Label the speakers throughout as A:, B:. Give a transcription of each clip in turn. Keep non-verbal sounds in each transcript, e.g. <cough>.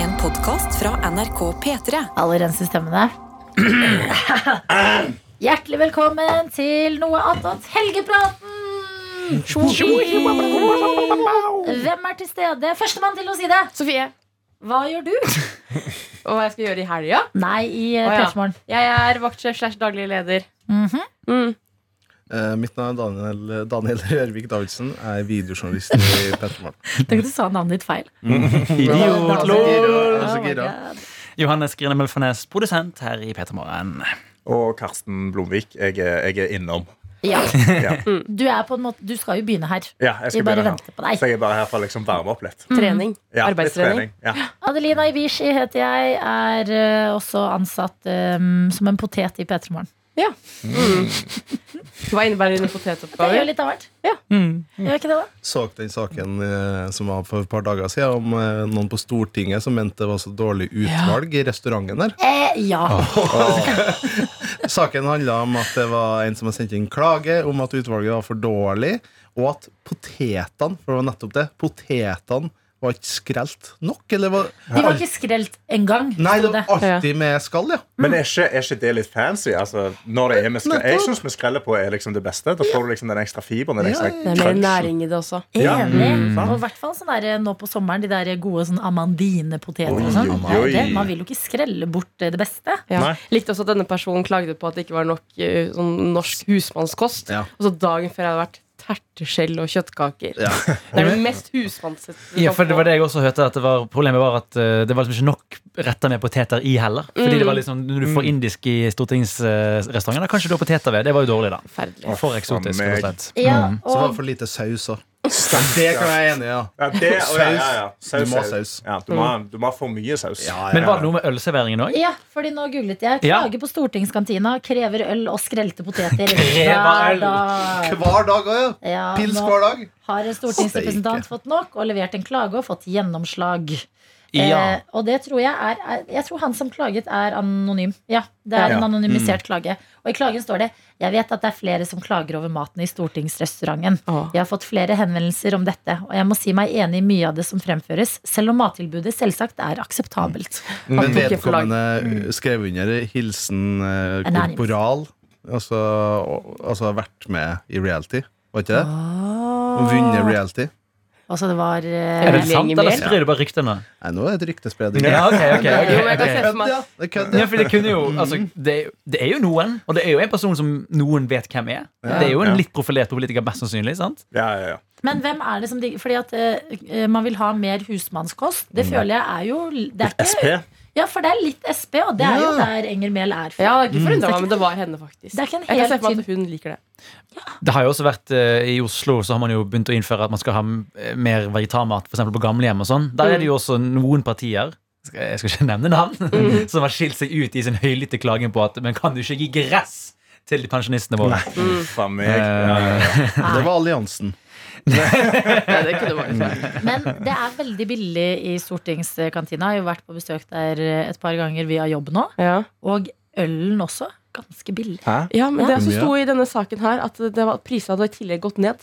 A: En podkast fra NRK P3.
B: Alle renser stemmene.
C: <clears throat>
B: Hjertelig velkommen til noe annet helgepraten! Hvem er til stede? Førstemann til å si det!
D: Sofie,
B: Hva gjør du?
D: <laughs> og hva jeg skal gjøre i helga?
B: Nei, i eh,
D: Å, ja.
B: P3morgen.
D: Jeg er vaktsjef slash daglig leder.
B: Mhm.
D: Mm.
C: Eh, mitt navn er Daniel, eh, Daniel <laughs> Rørvik Davidsen. Jeg er videojournalist i Petromorgen.
B: Tenk at du sa navnet ditt feil.
C: Idiot, lol!
B: Oh
C: Så
B: my
C: gira.
B: God.
E: Johannes Grine Melfarnes, produsent her i P3 Morgen.
F: Og Karsten Blomvik. Jeg er, jeg er innom.
B: Ja.
F: Ja.
B: Du, er på en måte, du skal jo begynne her.
F: Ja, jeg
B: Vi
F: skal
B: bare
F: begynne
B: venter på
F: her. Så
B: deg.
F: jeg er bare her for å liksom varme opp litt.
D: Trening.
F: Ja, litt
D: Arbeidstrening.
F: trening. Ja.
B: Adelina Ibishi heter jeg. Er eh, også ansatt eh, som en potet i P3morgen.
D: Hva innebærer dine
B: Det gjør
D: potetoppgaver?
B: litt av hvert.
D: Ja.
C: Mm.
B: Gjør ikke det, da?
C: Så den saken eh, som var for et par dager siden, om eh, noen på Stortinget som mente det var så dårlig utvalg i restauranten der.
B: Eh, ja.
C: Saken handla om at det var en som hadde sendt inn klage om at utvalget var for dårlig, og at potetene, for det var nettopp det, potetene var ikke skrelt nok. Eller var
B: De var ikke skrelt engang.
C: Nei,
B: sto
C: det
B: det.
C: var alltid med skall, ja.
F: Men er ikke, er ikke det litt fancy? Altså, når det er med skrell- jeg syns vi skreller på er liksom det beste. Da får du liksom den ekstra fiberen. Den ekstra
D: Det er mer
F: crunchen.
D: næring i det også.
F: Ja.
B: Enig.
F: Mm.
B: Og i hvert fall sånn der, nå på sommeren, de der gode sånn amandinepoteter og
F: Oi,
B: sånn.
F: oi,
B: Det er jo
F: oi.
B: det. Man vil jo ikke skrelle bort eh, det beste.
D: Ja.
F: Nei.
D: Likte også at denne personen klagde på at det ikke var nok eh, sånn norsk husmannskost.
C: Ja.
D: Og så dagen før hadde det vært terteskjell og kjøttkaker.
C: Ja.
D: Det er det mest husmannsete. du
E: Ja,
D: kan
E: for det
D: få.
E: var det jeg også hørte at det var, Problemet var at eh, det var liksom ikke nok retta med poteter i heller. Fordi det var liksom, Når du får indisk i stortingsrestauranten, da kanskje du har poteter ved. Det var jo dårlig, da.
D: Forferdelig.
E: For eksotisk,
F: meg.
E: rett og slett.
B: Ja,
C: Så var
B: og
C: det for lite saus òg. Det kan jeg være enig i, ja.
F: Ja, det, å, ja, ja, ja.
C: Du må ha
F: er-
C: saus.
F: Ja, du, må, ha- du må ha for mye saus.
E: Men var det noe med ølserveringen òg?
B: ja, fordi nå googlet jeg.
E: Ja.
B: Klager på stortingskantina, krever øl og skrelte poteter
E: Krever
B: hver
E: øl.
B: dag.
C: Hver dag òg, ja.
B: Ja,
C: Pils
B: nå
C: hver dag.
B: har en stortingsrepresentant fått nok og levert en klage og fått gjennomslag.
E: Ja.
B: Eh, og det tror jeg er, er Jeg tror han som klaget, er anonym. Ja, det er
D: Ja.
B: en anonymisert klage. Og i klagen står det Jeg vet at det er flere som klager over maten i stortingsrestauranten.
D: Åh.
B: Jeg har fått flere henvendelser om dette, og jeg må si meg enig i mye av det som fremføres, selv om mattilbudet selvsagt er akseptabelt.
C: Men
D: ikke for lang.
C: vedkommende uh, skrev under hilsen uh,
B: Anonymous.
C: korporal. Altså, og, altså har vært med i reality, var ikke det? Og vunnet reality.
B: Altså, det var eh,
E: Er det
D: Veldig
E: sant,
D: lenge
E: eller
D: mer.
E: sprer du bare ryktene?
C: Nei, nå er det et ryktespredning.
E: Ja, ok, ok,
D: Jo, men jeg
E: ok,
D: kan se
E: ok.
D: for meg
C: Ja, det er kødd,
E: Ja,
C: ja.
E: for det kunne jo altså, det, er jo- det er jo noen, og det er jo en person som noen vet hvem er. Det er jo en
F: Ja.
E: litt profilert politiker, mest sannsynlig. sant?
F: Ja, ja, ja.
B: Men hvem er det som digger Fordi at eh, man vil ha mer husmannskost. Det føler jeg er jo det er ikke,
F: SP.
B: Ja, for det er litt SP, og det er jo der Enger Mehl er fra.
D: Ja, det er
E: Mm.
D: ikke forundra meg, men det var henne, faktisk.
B: Det er ikke en
D: Jeg kan se
B: helt
D: for
B: tynn
D: meg at hun liker det.
E: Det har jo også vært eh, I Oslo så har man jo begynt å innføre at man skal ha eh, mer vegetarmat for eksempel på gamlehjem. og sånn Der er det jo
F: Mm.
E: også noen partier skal- jeg skal ikke nevne navn <laughs>
F: Mm.
E: som har skilt seg ut i sin høylytte klaging på at Men kan du ikke gi gress til pensjonistene våre?
F: For meg. Ja, ja,
C: Eh,
F: ja.
C: Det var alliansen.
D: Ja, det kunne vært
B: <laughs>
D: det.
B: Men det er veldig billig i stortingskantina. Jeg har jo vært på besøk der et par ganger via jobb nå.
D: Ja.
B: Og ølen også. Ganske billig.
D: ja, men det som
C: Mye.
D: sto i denne saken her, at det var, prisene hadde i tillegg gått ned.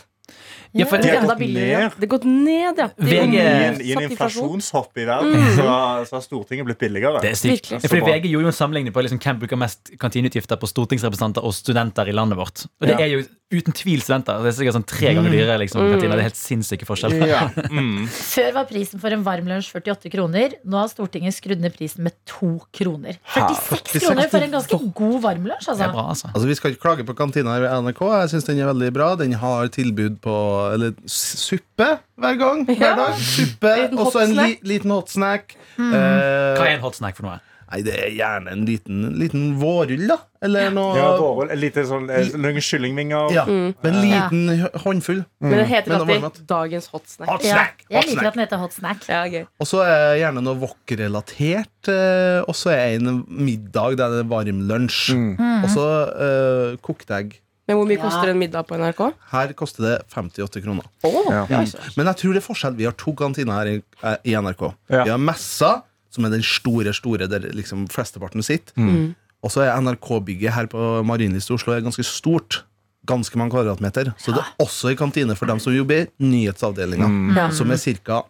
E: Ja, for,
F: De har
D: Enda
F: gått
D: billigere.
F: ned.
D: Det har gått ned, ja. De
E: VG.
D: har
F: I en,
D: satt
F: I
D: inflasjon.
F: en inflasjonshopp i verden så, har- så har Stortinget blitt billigere.
E: det er sykt.
D: Virkelig.
E: Ja, Fordi VG gjorde jo en sammenligning på liksom, hvem bruker mest kantineutgifter på stortingsrepresentanter og studenter i landet vårt. Og det
F: Ja. Mm.
E: er jo uten tvil studenter. Det er sikkert sånn tre ganger dyrere. Liksom, kantina. Det er helt sinnssyke forskjeller.
F: Ja. Mm.
B: Før var prisen for en varm lunsj 48 kroner. Nå har Stortinget skrudd ned prisen med to kroner. 46 kroner for en ganske god varm lunsj,
E: Det er
B: altså.
E: bra, altså.
C: Altså, Vi skal ikke klage på kantina her ved NRK. Jeg syns den er veldig bra. Den har tilbud på eller, s- suppe hver gang.
D: Ja.
C: Hver dag. Suppe,
D: Liten
C: og så en li,
D: hotsnack.
C: liten hotsnack. Eh,
E: Hva er en hot snack for noe?
C: nei, det er gjerne en liten, liten vårrull, da. Eller noe
F: Ja, vårrull. En liten sånn eh, noen kyllingvinger.
C: Ja,
B: Mm.
C: med en liten hø- håndfull.
D: Men den heter
C: Men Ah. det var
D: alltid Dagens hot snack.
C: Hot
B: Ja,
C: snack!
B: jeg
C: Hot
B: liker
C: snack.
B: at den heter hot snack.
D: Ja, gøy.
C: Og så er det gjerne noe wok-relatert. eh, Og så er det en middag der det er varm lunsj. Og så eh, kokte egg.
D: Men hvor mye
B: Ja.
D: koster en middag på NRK?
C: Her koster det 58 kroner. Mm.
F: Ja.
C: Men jeg tror det er forskjell. Vi har to kantiner her i, eh, i NRK.
F: Ja.
C: Vi har messa, som er den store, store der liksom flesteparten sitter.
F: Mm.
C: Og så er NRK-bygget her på Marienlyst i Oslo er ganske stort. Ganske mange
F: Mm.
C: kvadratmeter. Så det er også en kantine for dem som jobber i nyhetsavdelinga, som er ca.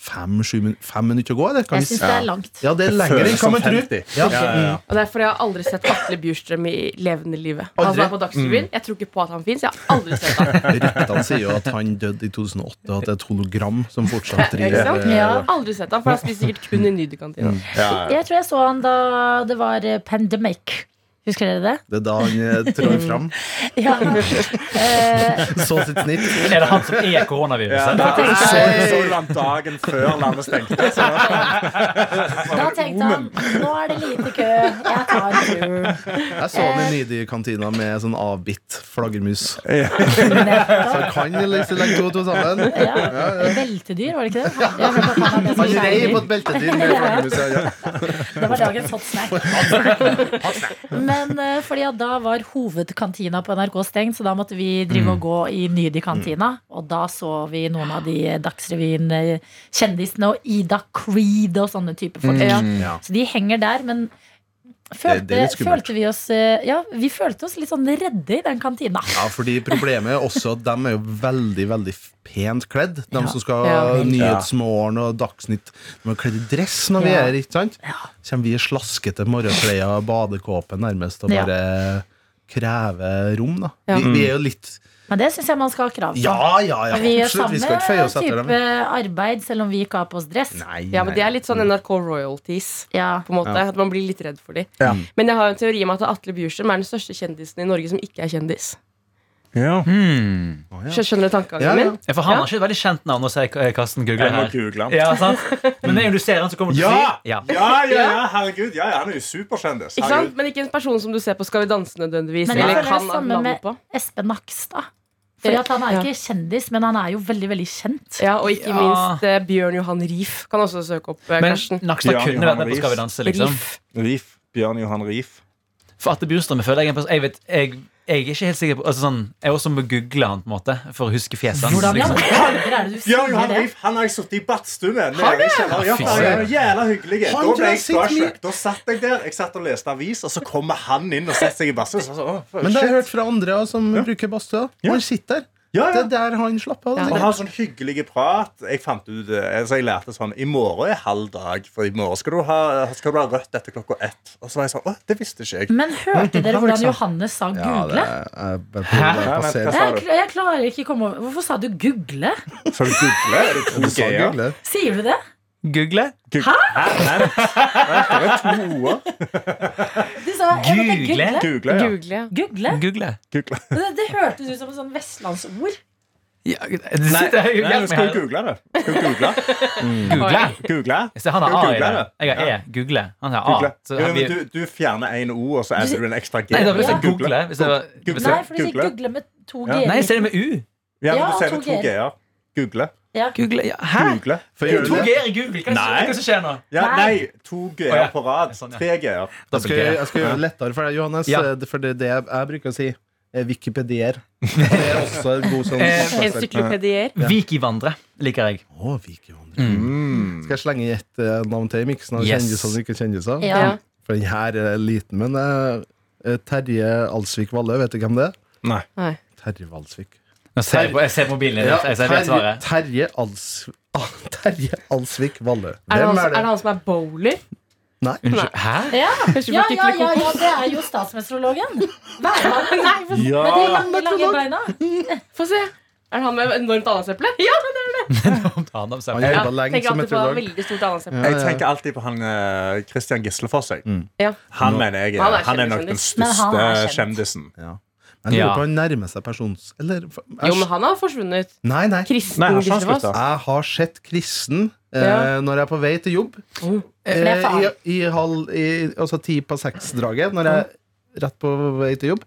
C: fem-sju min fem minutter å gå? Eller? Kan
B: Jeg
C: vi
B: syns
C: si-
B: det er langt.
C: ja, det er lenger enn hva man tror. Ja. Mm.
F: Ja, ja, ja.
D: Og det er fordi jeg har aldri sett Atle Bjurstrøm i levende livet. Han som
C: Aldri?
D: er på Dagsrevyen. Jeg tror ikke på at han fins. Jeg har aldri sett han.
C: Ryktene sier jo at han døde i 2008, og at det er et hologram som fortsatt
D: Ja, ikke
C: driver
D: sant?
B: Ja.
D: Aldri sett han, for han spiser sikkert kun i Nydekantina.
F: Ja, ja.
B: Jeg tror jeg så han da det var eh, pandemic. Husker dere det?
C: Det er da han eh, trår fram.
B: Ja. <laughs> Eh,
C: Så sitt snitt.
E: Men er det han som
F: <laughs>
E: er koronaviruset?
F: da er Solan dagen før landet stengte. Så
B: da tenkte han nå er det lite kø, jeg tar turen.
C: Jeg så han i Nidi-kantina med sånn avbitt flaggermus. Så han kan liksom legge to og to sammen.
B: Ja. Beltedyr, var det ikke det? Jeg har hørt at han hadde
C: Han rei på
B: beltedyr.
C: et beltedyr med flaggermus. ja, Ja.
B: Det var dagens hot snack. <laughs> Men eh, fordi at da var hovedkantina på NRK stengt, så da måtte vi
C: Mm.
B: drive og gå i Nydi-kantina. Og da så vi noen av de eh, Dagsrevyen-kjendisene og Ida Creed og sånne typer folk.
C: Mm, Ja.
B: Så de henger der, men følte,
C: Det- det er litt skummelt.
B: følte vi oss eh, Ja, vi følte oss litt sånn redde i den kantina.
C: Ja, fordi Problemet er også at de er jo veldig veldig pent kledd. De
B: Ja.
C: som skal
D: Ja.
C: Nyhetsmorgen og Dagsnytt. De er kledd i dress når vi
B: Ja.
C: er her. ikke sant? Kommer vi i slaskete morgenklær og badekåpe nærmest og
B: Ja.
C: bare krever rom, da.
D: Ja.
C: Vi, vi er jo litt
B: Men det syns jeg man skal ha krav på.
C: Ja, ja, ja.
B: vi gjør
C: absolutt. Vi skal ikke feie oss
B: samme
C: etter dem.
B: type arbeid, selv om vi ikke har på oss dress.
C: Nei,
D: Ja, men
C: nei.
D: Det er litt sånn NRK royalties.
B: Ja.
D: På en måte, At man blir litt redd for dem.
F: Ja.
D: Men jeg har en teori om at Atle Bjurstrøm er den største kjendisen i Norge som ikke er kjendis.
F: ja.
E: Hmm.
D: Skjø- Skjønner du
C: Ja,
D: tankegangen
C: ja.
D: min?
E: Ja, For han har ikke et veldig kjent navn, og så er Karsten googler
F: Jeg må
E: her.
F: google han.
E: Ja, sant? Men med en gang du ser han, så kommer du til å
F: Ja!
E: si ja.
F: Ja, ja, ja, herregud. Ja, ja, han er jo superkjendis.
D: Ikke sant?
F: Herregud.
D: Men ikke en person som du ser på Skal vi danse nødvendigvis.
B: Men jeg
D: Eller
B: føler
D: kan
B: det samme
D: navnet
B: med-
D: på
B: Espen Nakstad. For at han er
D: Ja.
B: ikke kjendis, men han er jo veldig veldig kjent.
D: Ja, Og ikke
E: Ja.
D: minst eh, Bjørn Johan Rief kan også søke opp eh,
E: Men
D: Karsten.
E: Nakstad
F: Ja,
E: kunne vært
F: Johan
E: med på Skal vi danse, liksom.
D: Rief.
F: Rif. Bjørn Johan Rif.
E: For Atle Bjurstrøm jeg føler jeg er en person Jeg vet, jeg, jeg er ikke helt sikker på altså, sånn, Jeg også må google han på en måte for å huske fjeset hans.
B: Hvordan i
E: Liksom.
B: alle dager er det du
F: Bjørn
B: sier
F: Johan
B: det?
F: Rif han har jeg sittet i badstue med. nede i kjelleren. Ja,
E: Fy
F: han er jo jævla hyggelig.
C: Han
F: Da
C: tror
F: ble
C: jeg
F: jeg
C: sitter mye-
F: starstruck. Da satt jeg der jeg satt og leste avis, og så kommer han inn og setter seg i badstue. Så, jeg så, å,
C: Men det har jeg
F: shit.
C: hørt fra andre også, som bruker badstue.
F: Ja.
C: Han sitter der.
F: Ja, ja.
C: Det er der han slapper av. altså.
D: Ja.
F: Og
C: sikkert.
F: har sånn hyggelig prat. Jeg fant ut, eh, altså jeg lærte sånn I morgen er halv dag, for i morgen skal du ha, skal du ha rødt etter klokka ett. Og så var jeg sånn Å, det visste ikke jeg.
B: Men hørte dere
F: Ja,
B: hvordan
F: ikke sant.
B: Johannes sa
C: liksom- Ja, det
B: 'google'?
C: er, jeg, jeg, jeg,
F: Hæ?
C: passerer.
F: Hva sa
B: Jeg,
F: du?
B: jeg klarer ikke å komme over Hvorfor sa du 'google'?
F: <laughs> Så du googler? Er det to
C: Du sa
F: g-er?
C: google.
B: Sier du det?
E: Google?
F: Hæ? Nei, nei, det er to o-er.
B: Du sa jeg vet ikke,
E: Google?
B: google.
F: Google, ja.
D: Google, ja.
B: Google?
E: Google.
F: Google.
B: Det, det hørtes ut som et sånn vestlandsord.
E: Ja, det
F: Nei,
E: sitter jeg
F: nei,
E: hjelp
F: nå
E: meg
F: skal
E: her.
F: du google det. Skal du google?
E: Google.
F: Google?
E: Jeg ser han har A
F: Skal du
E: i det.
F: google det?
E: Jeg har E. Google. Han har A.
F: Google.
E: Så
F: Ja,
E: han
F: men
E: blir-
F: du, du fjerner én o, og så
B: Du-
F: adder du en ekstra g.
E: Nei, da vil jeg si
B: Ja.
E: google. Hvis det var, hvis det,
B: Nei, for du sier
F: Google.
B: 'google' med to
F: Ja.
B: g-er.
E: nei, jeg ser det med U.
F: Ja, men
B: Ja,
F: du sier det
B: to
F: to
B: G-er.
F: g-er. Google.
B: Ja.
E: Google, ja, Hæ?
F: Google.
C: For jeg
E: To
C: gjør det.
E: G-er i Google? Hva er det som- hva
F: Nei.
E: er det som skjer nå?
F: Ja,
B: Nei.
F: nei, to
E: Å,
F: g-er
E: ja.
F: på rad.
E: Sånn, ja.
F: Tre g-er.
C: Jeg skal, jeg skal gjøre det lettere for deg, Johannes.
E: Ja.
C: For det er det jeg, jeg bruker å si. eh, Wikipedier. Det er også en god sånn
E: Eh,
D: Encyklopedier.
E: Vikivandre liker jeg. Mm.
C: Å, Vikivandre.
F: Mm.
C: Skal jeg slenge i et eh, navn til i miksen av
E: Yes.
C: kjendiser og ikke kjendiser?
B: Ja.
D: Ja.
C: For den her er liten, men eh, Terje Alsvik Valle, vet du hvem det er?
F: Nei.
D: Nei.
C: Terje Valsvik.
E: Nå ser jeg, på, jeg ser på mobilen din.
C: Ja,
E: Jeg ser det
C: Terje,
E: svaret.
C: Terje, <laughs> Als, Terje Alsvik Valle.
D: Er det, han,
C: Hvem er det?
D: er det han som er bowler?
E: Unnskyld. Hæ?
B: Ja.
D: Kanskje
B: Ja, ja,
D: vi ikke
B: ja,
D: klikker
B: ja, det er jo statsmeteorologen.
D: <laughs>
B: Værmannen.
F: Ja.
B: Med de lange, lange beina.
D: Få se. Er det han med enormt ananasepple? <laughs> Ja!
E: Om ta hand om seg.
C: Han har
D: Ja,
C: jobba lenge
D: Tenker
C: som
D: alltid på
C: meteorolog.
D: veldig stort ananasepple.
F: Jeg tenker alltid på han eh, Christian Gislefoss. jeg.
C: Mm.
D: Ja.
F: Han mener jeg
D: Han
F: han
D: er
F: er, han er nok den
D: kjendis.
B: Men han
F: største
B: er kjent.
F: kjendisen.
C: Jeg lurer
E: Ja.
C: på om han nærmer seg persons... Eller
D: Jo, men han har forsvunnet.
C: Nei, nei.
D: Kristen
F: Nei, har ikke han
D: Gislefoss.
F: slutta?
C: Jeg har sett kristen eh,
D: Ja.
C: når jeg er på vei til jobb.
B: Men det er
C: Eh, i,
B: faen.
C: i halv i, Altså ti på seks-draget, når jeg er rett på vei til jobb.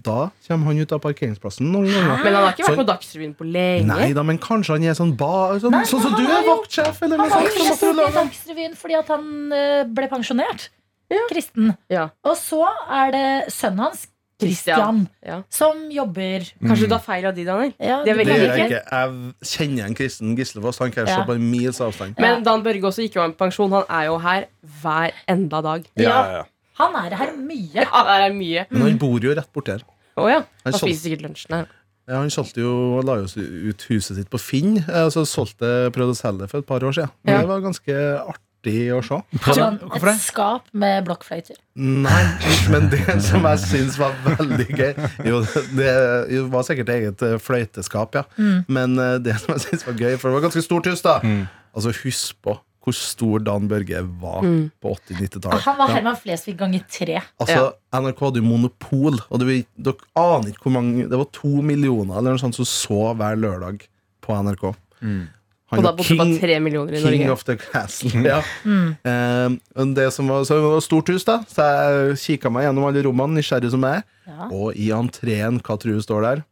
C: Da kommer han ut av parkeringsplassen noen ganger.
D: Men han har ikke
C: Så-
D: vært på Dagsrevyen på lenge.
C: Nei da, men kanskje han er sånn ba... Sånn
B: Nei,
C: sånn som
B: men
C: du
B: han
C: er,
B: er jo-
C: vaktsjef, eller noe
B: Han var
C: sånt.
B: jo
C: som
B: sett i
C: meteorolog.
B: Dagsrevyen fordi at han eh, ble pensjonert. Kristen.
D: Ja.
B: Og så er det sønnen hans, Christian,
D: Christian. Ja.
B: som jobber
C: Mm.
D: Kanskje du tar feil av de, Daniel.
B: ja,
D: Det er
C: Det
D: veldig
C: gjør jeg
D: like.
C: ikke. Jeg kjenner en kristen Gislefoss. Han kan jeg
B: Ja.
C: se på en mils avstand.
D: Men Dan Børge også gikk jo av med pensjon. Han er jo her hver enda dag.
F: Ja,
B: Ja.
F: ja.
B: Han er her mye.
D: Ja, det er mye.
C: Men han bor jo rett borti her.
D: Å ja.
C: Han
D: Han
C: solgte-
D: spiser sikkert lunsjen her.
C: Ja, han solgte jo, han la jo ut huset sitt på Finn, eh, så solgte, prøvde å selge det for et par år siden.
D: Ja.
C: Det var ganske artig å se.
B: Sånn,
E: Hvorfor det?
B: et skap med blokkfløyter.
C: Nei, men det som jeg syns var veldig gøy Jo, det jo, var sikkert eget eh, fløyteskap, ja. Men eh, det som jeg syns var gøy, for det var ganske stort hus, da. Altså, husk på hvor stor Dan Børge var på 80-90-tallet.
B: Han var
C: Ja.
B: Herman Flesvig ganger tre.
C: Altså, NRK hadde jo monopol, og det, vil- dere aner ikke hvor mange Det var to millioner eller noe sånt som så hver lørdag på NRK.
F: Mm.
C: Han
D: Og da
C: var
D: bodde det bare tre millioner i
C: King
D: Norge. Mm.
C: of the castle. <laughs> Ja. Eh, men det som var, så det var stort hus, da, så jeg kikka meg gjennom alle rommene, nysgjerrig som jeg er.
B: Ja.
C: Og i entreen, hva tror du står der?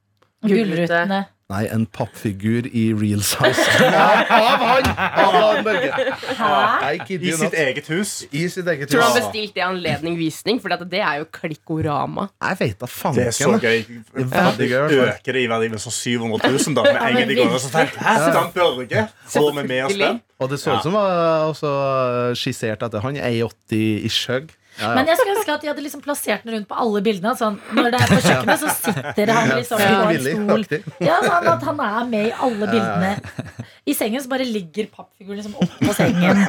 D: Gullrute.
B: Gullrutene.
C: Nei, en pappfigur i real size.
F: <laughs>
C: Av han! Av han Børge. I altså. kid
F: I
C: you
F: sitt
C: not.
F: eget hus.
C: I sitt eget
D: Tror du han
C: hus.
D: bestilte i anledning visning? For det er jo klikkorama.
C: Jeg veit da fanken.
F: Det er så gøy.
C: Det er veldig gøy, altså. i hvert fall.
F: Øker det i verdi med sånn 700 000, da? Med en gang de går og så tenker Hæ, Dan Børge? Får vi med oss den?
C: Og det så ut som var også eh, skissert etter han. 1,80 ish høy. Ja, ja.
B: Men jeg skulle ønske at de hadde liksom plassert den rundt på alle bildene. Sånn, når det er på kjøkkenet, så sitter han liksom
C: Ja,
B: på en
C: villig,
B: stol.
C: aktig.
B: Ja, sånn at han er med i alle bildene. I sengen så bare ligger pappfiguren liksom oppå sengen.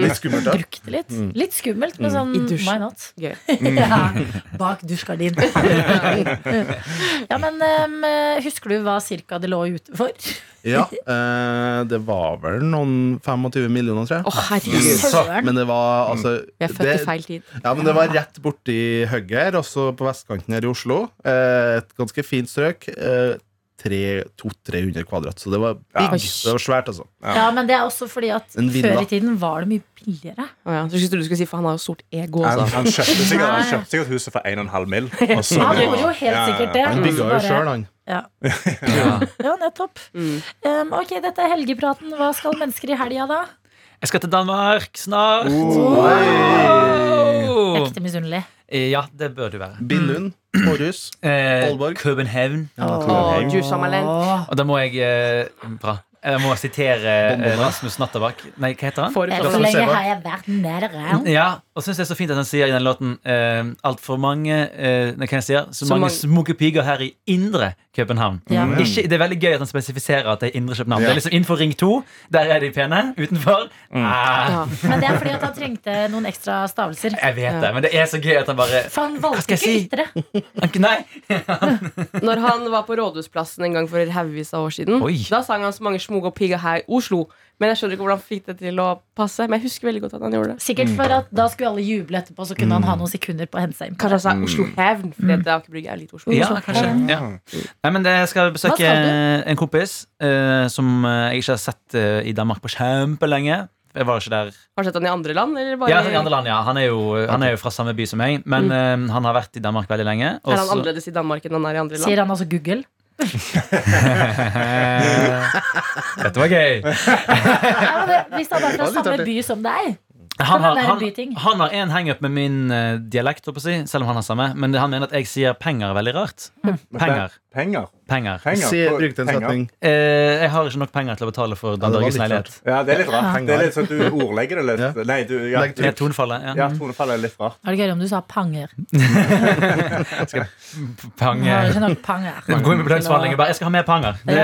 C: Litt skummelt, da.
B: Brukte litt.
C: Mm.
B: Litt skummelt, men sånn
D: I dusjen.
B: why not?
D: Gøy.
B: <laughs> Ja, bak <laughs> dusjgardin. Ja, men em, husker du hva cirka det lå ute for?
C: <laughs> Ja, eh, det var vel noen 25 millioner, tror jeg.
D: Å, herregud.
B: Søren.
C: Men det var altså
D: Vi er født
C: det,
D: i feil tid.
C: Ja, men det var rett borti høgget her, også på vestkanten her i Oslo. Eh, Et ganske fint strøk. Eh, tre- 200-300 kvadrat. Så det var big.
D: Oi.
C: Det var svært, altså.
B: Ja, men det er også fordi at
C: En villa.
B: før i tiden var det mye billigere.
D: Å ja. Så jeg trodde du skulle si for han har jo stort ego
F: Han,
D: også.
F: han, kjøpte sikkert, han
B: Nei.
F: kjøpte sikkert huset for 1,5 mill.
B: Han gjorde jo helt sikkert det.
C: Han
B: og så
C: bygga jo
B: bare-
C: sjøl, han.
B: Ja.
E: Ja.
B: Ja, nettopp.
D: Mm.
B: Um, ok, dette er helgepraten. Hva skal mennesker i helga, da?
E: Jeg skal til Danmark snart. Wow.
B: Ekte misunnelig.
E: Eh, Ja, det bør du være.
C: Billund, Århus.
E: Eh,
C: Aalborg.
E: København.
D: Å, Jusamalen.
E: Og da må jeg eh, Bra. Jeg må sitere eh, Rasmus Natterbakk. Nei, hva heter han?
D: For
B: Eh, Så
C: får vi se
B: lenge
C: hva-
B: har jeg vært nede
E: Ja, og synes det er så fint at han sier i den låten uh, Altfor mange eh, Nei, hva jeg sier? Så,
D: Så
E: mange
D: mange-
E: smukke piger her i indre København.
B: Ja. Mm.
E: Ikke, det er veldig gøy at han spesifiserer at det er indre København.
F: Ja.
E: Det er liksom Innenfor Ring 2, der er de pene. Utenfor ah,
D: Ja.
B: Men det er fordi at han trengte noen ekstra stavelser.
E: Jeg vet det, men det er så gøy at han bare
B: For han
E: Hva
B: valgte
E: skal jeg
B: ikke
E: si?
B: ytre.
E: han, Nei!
D: Når han var på Rådhusplassen en gang for haugevis av år siden,
E: Oi.
D: da sang han så mange smuge og piger her i Oslo. Men jeg skjønner ikke hvordan han fikk det til å passe. Men jeg husker veldig godt at han gjorde det.
B: Sikkert for at da skulle alle juble etterpå, så kunne han ha noen sekunder på å hente seg inn.
D: Kanskje han sa Oslo Hevn, fordi at Aker Brygge er litt Oslo.
E: Mm. Ja, kanskje. Ja. Nei, men jeg skal besøke
B: Hva skal
E: en kompis eh, som eh, jeg ikke har sett eh, i Danmark på kjempelenge. Jeg var ikke der
D: Har du sett han i andre land? Eller bare
E: Ja, i andre land, ja. Han er jo, han er jo fra samme by som meg,
B: Mm.
E: men eh, han har vært i Danmark veldig lenge. og
D: Er han
E: så-
D: annerledes i Danmark enn han er i andre land?
B: Sier han altså Google?
E: <laughs> Dette var gøy.
B: Ja, men det, hvis han er fra
C: Det var litt
B: samme
C: artig.
B: by som deg.
E: Han har,
B: Det er en
E: han,
B: byting.
E: han har en hangup med min eh, dialekt, håper jeg, å si, selv om han har samme. Men det, han mener at jeg sier penger veldig rart. Penger.
F: Penger.
E: Penger.
F: Penger.
C: Si, brukte en
F: Penger.
C: setning.
E: Eh, jeg har ikke nok penger til å betale for
C: Ja,
E: Dan
C: det var
E: Børges
C: litt
E: leilighet.
F: Ja, det er litt rart.
C: Ja.
F: Det er litt sånn at Du ordlegger det litt.
C: Ja.
F: Nei, du, ja,
C: Legg
F: du,
E: Det er tonefallet. Ja.
F: ja tonefallet er litt rart.
B: Er det gøy om du sa panger? Har
E: Panger.
B: ikke nok panger.
E: Gå inn med belønningsforhandlinger og bare 'Jeg skal ha mer penger'. Det,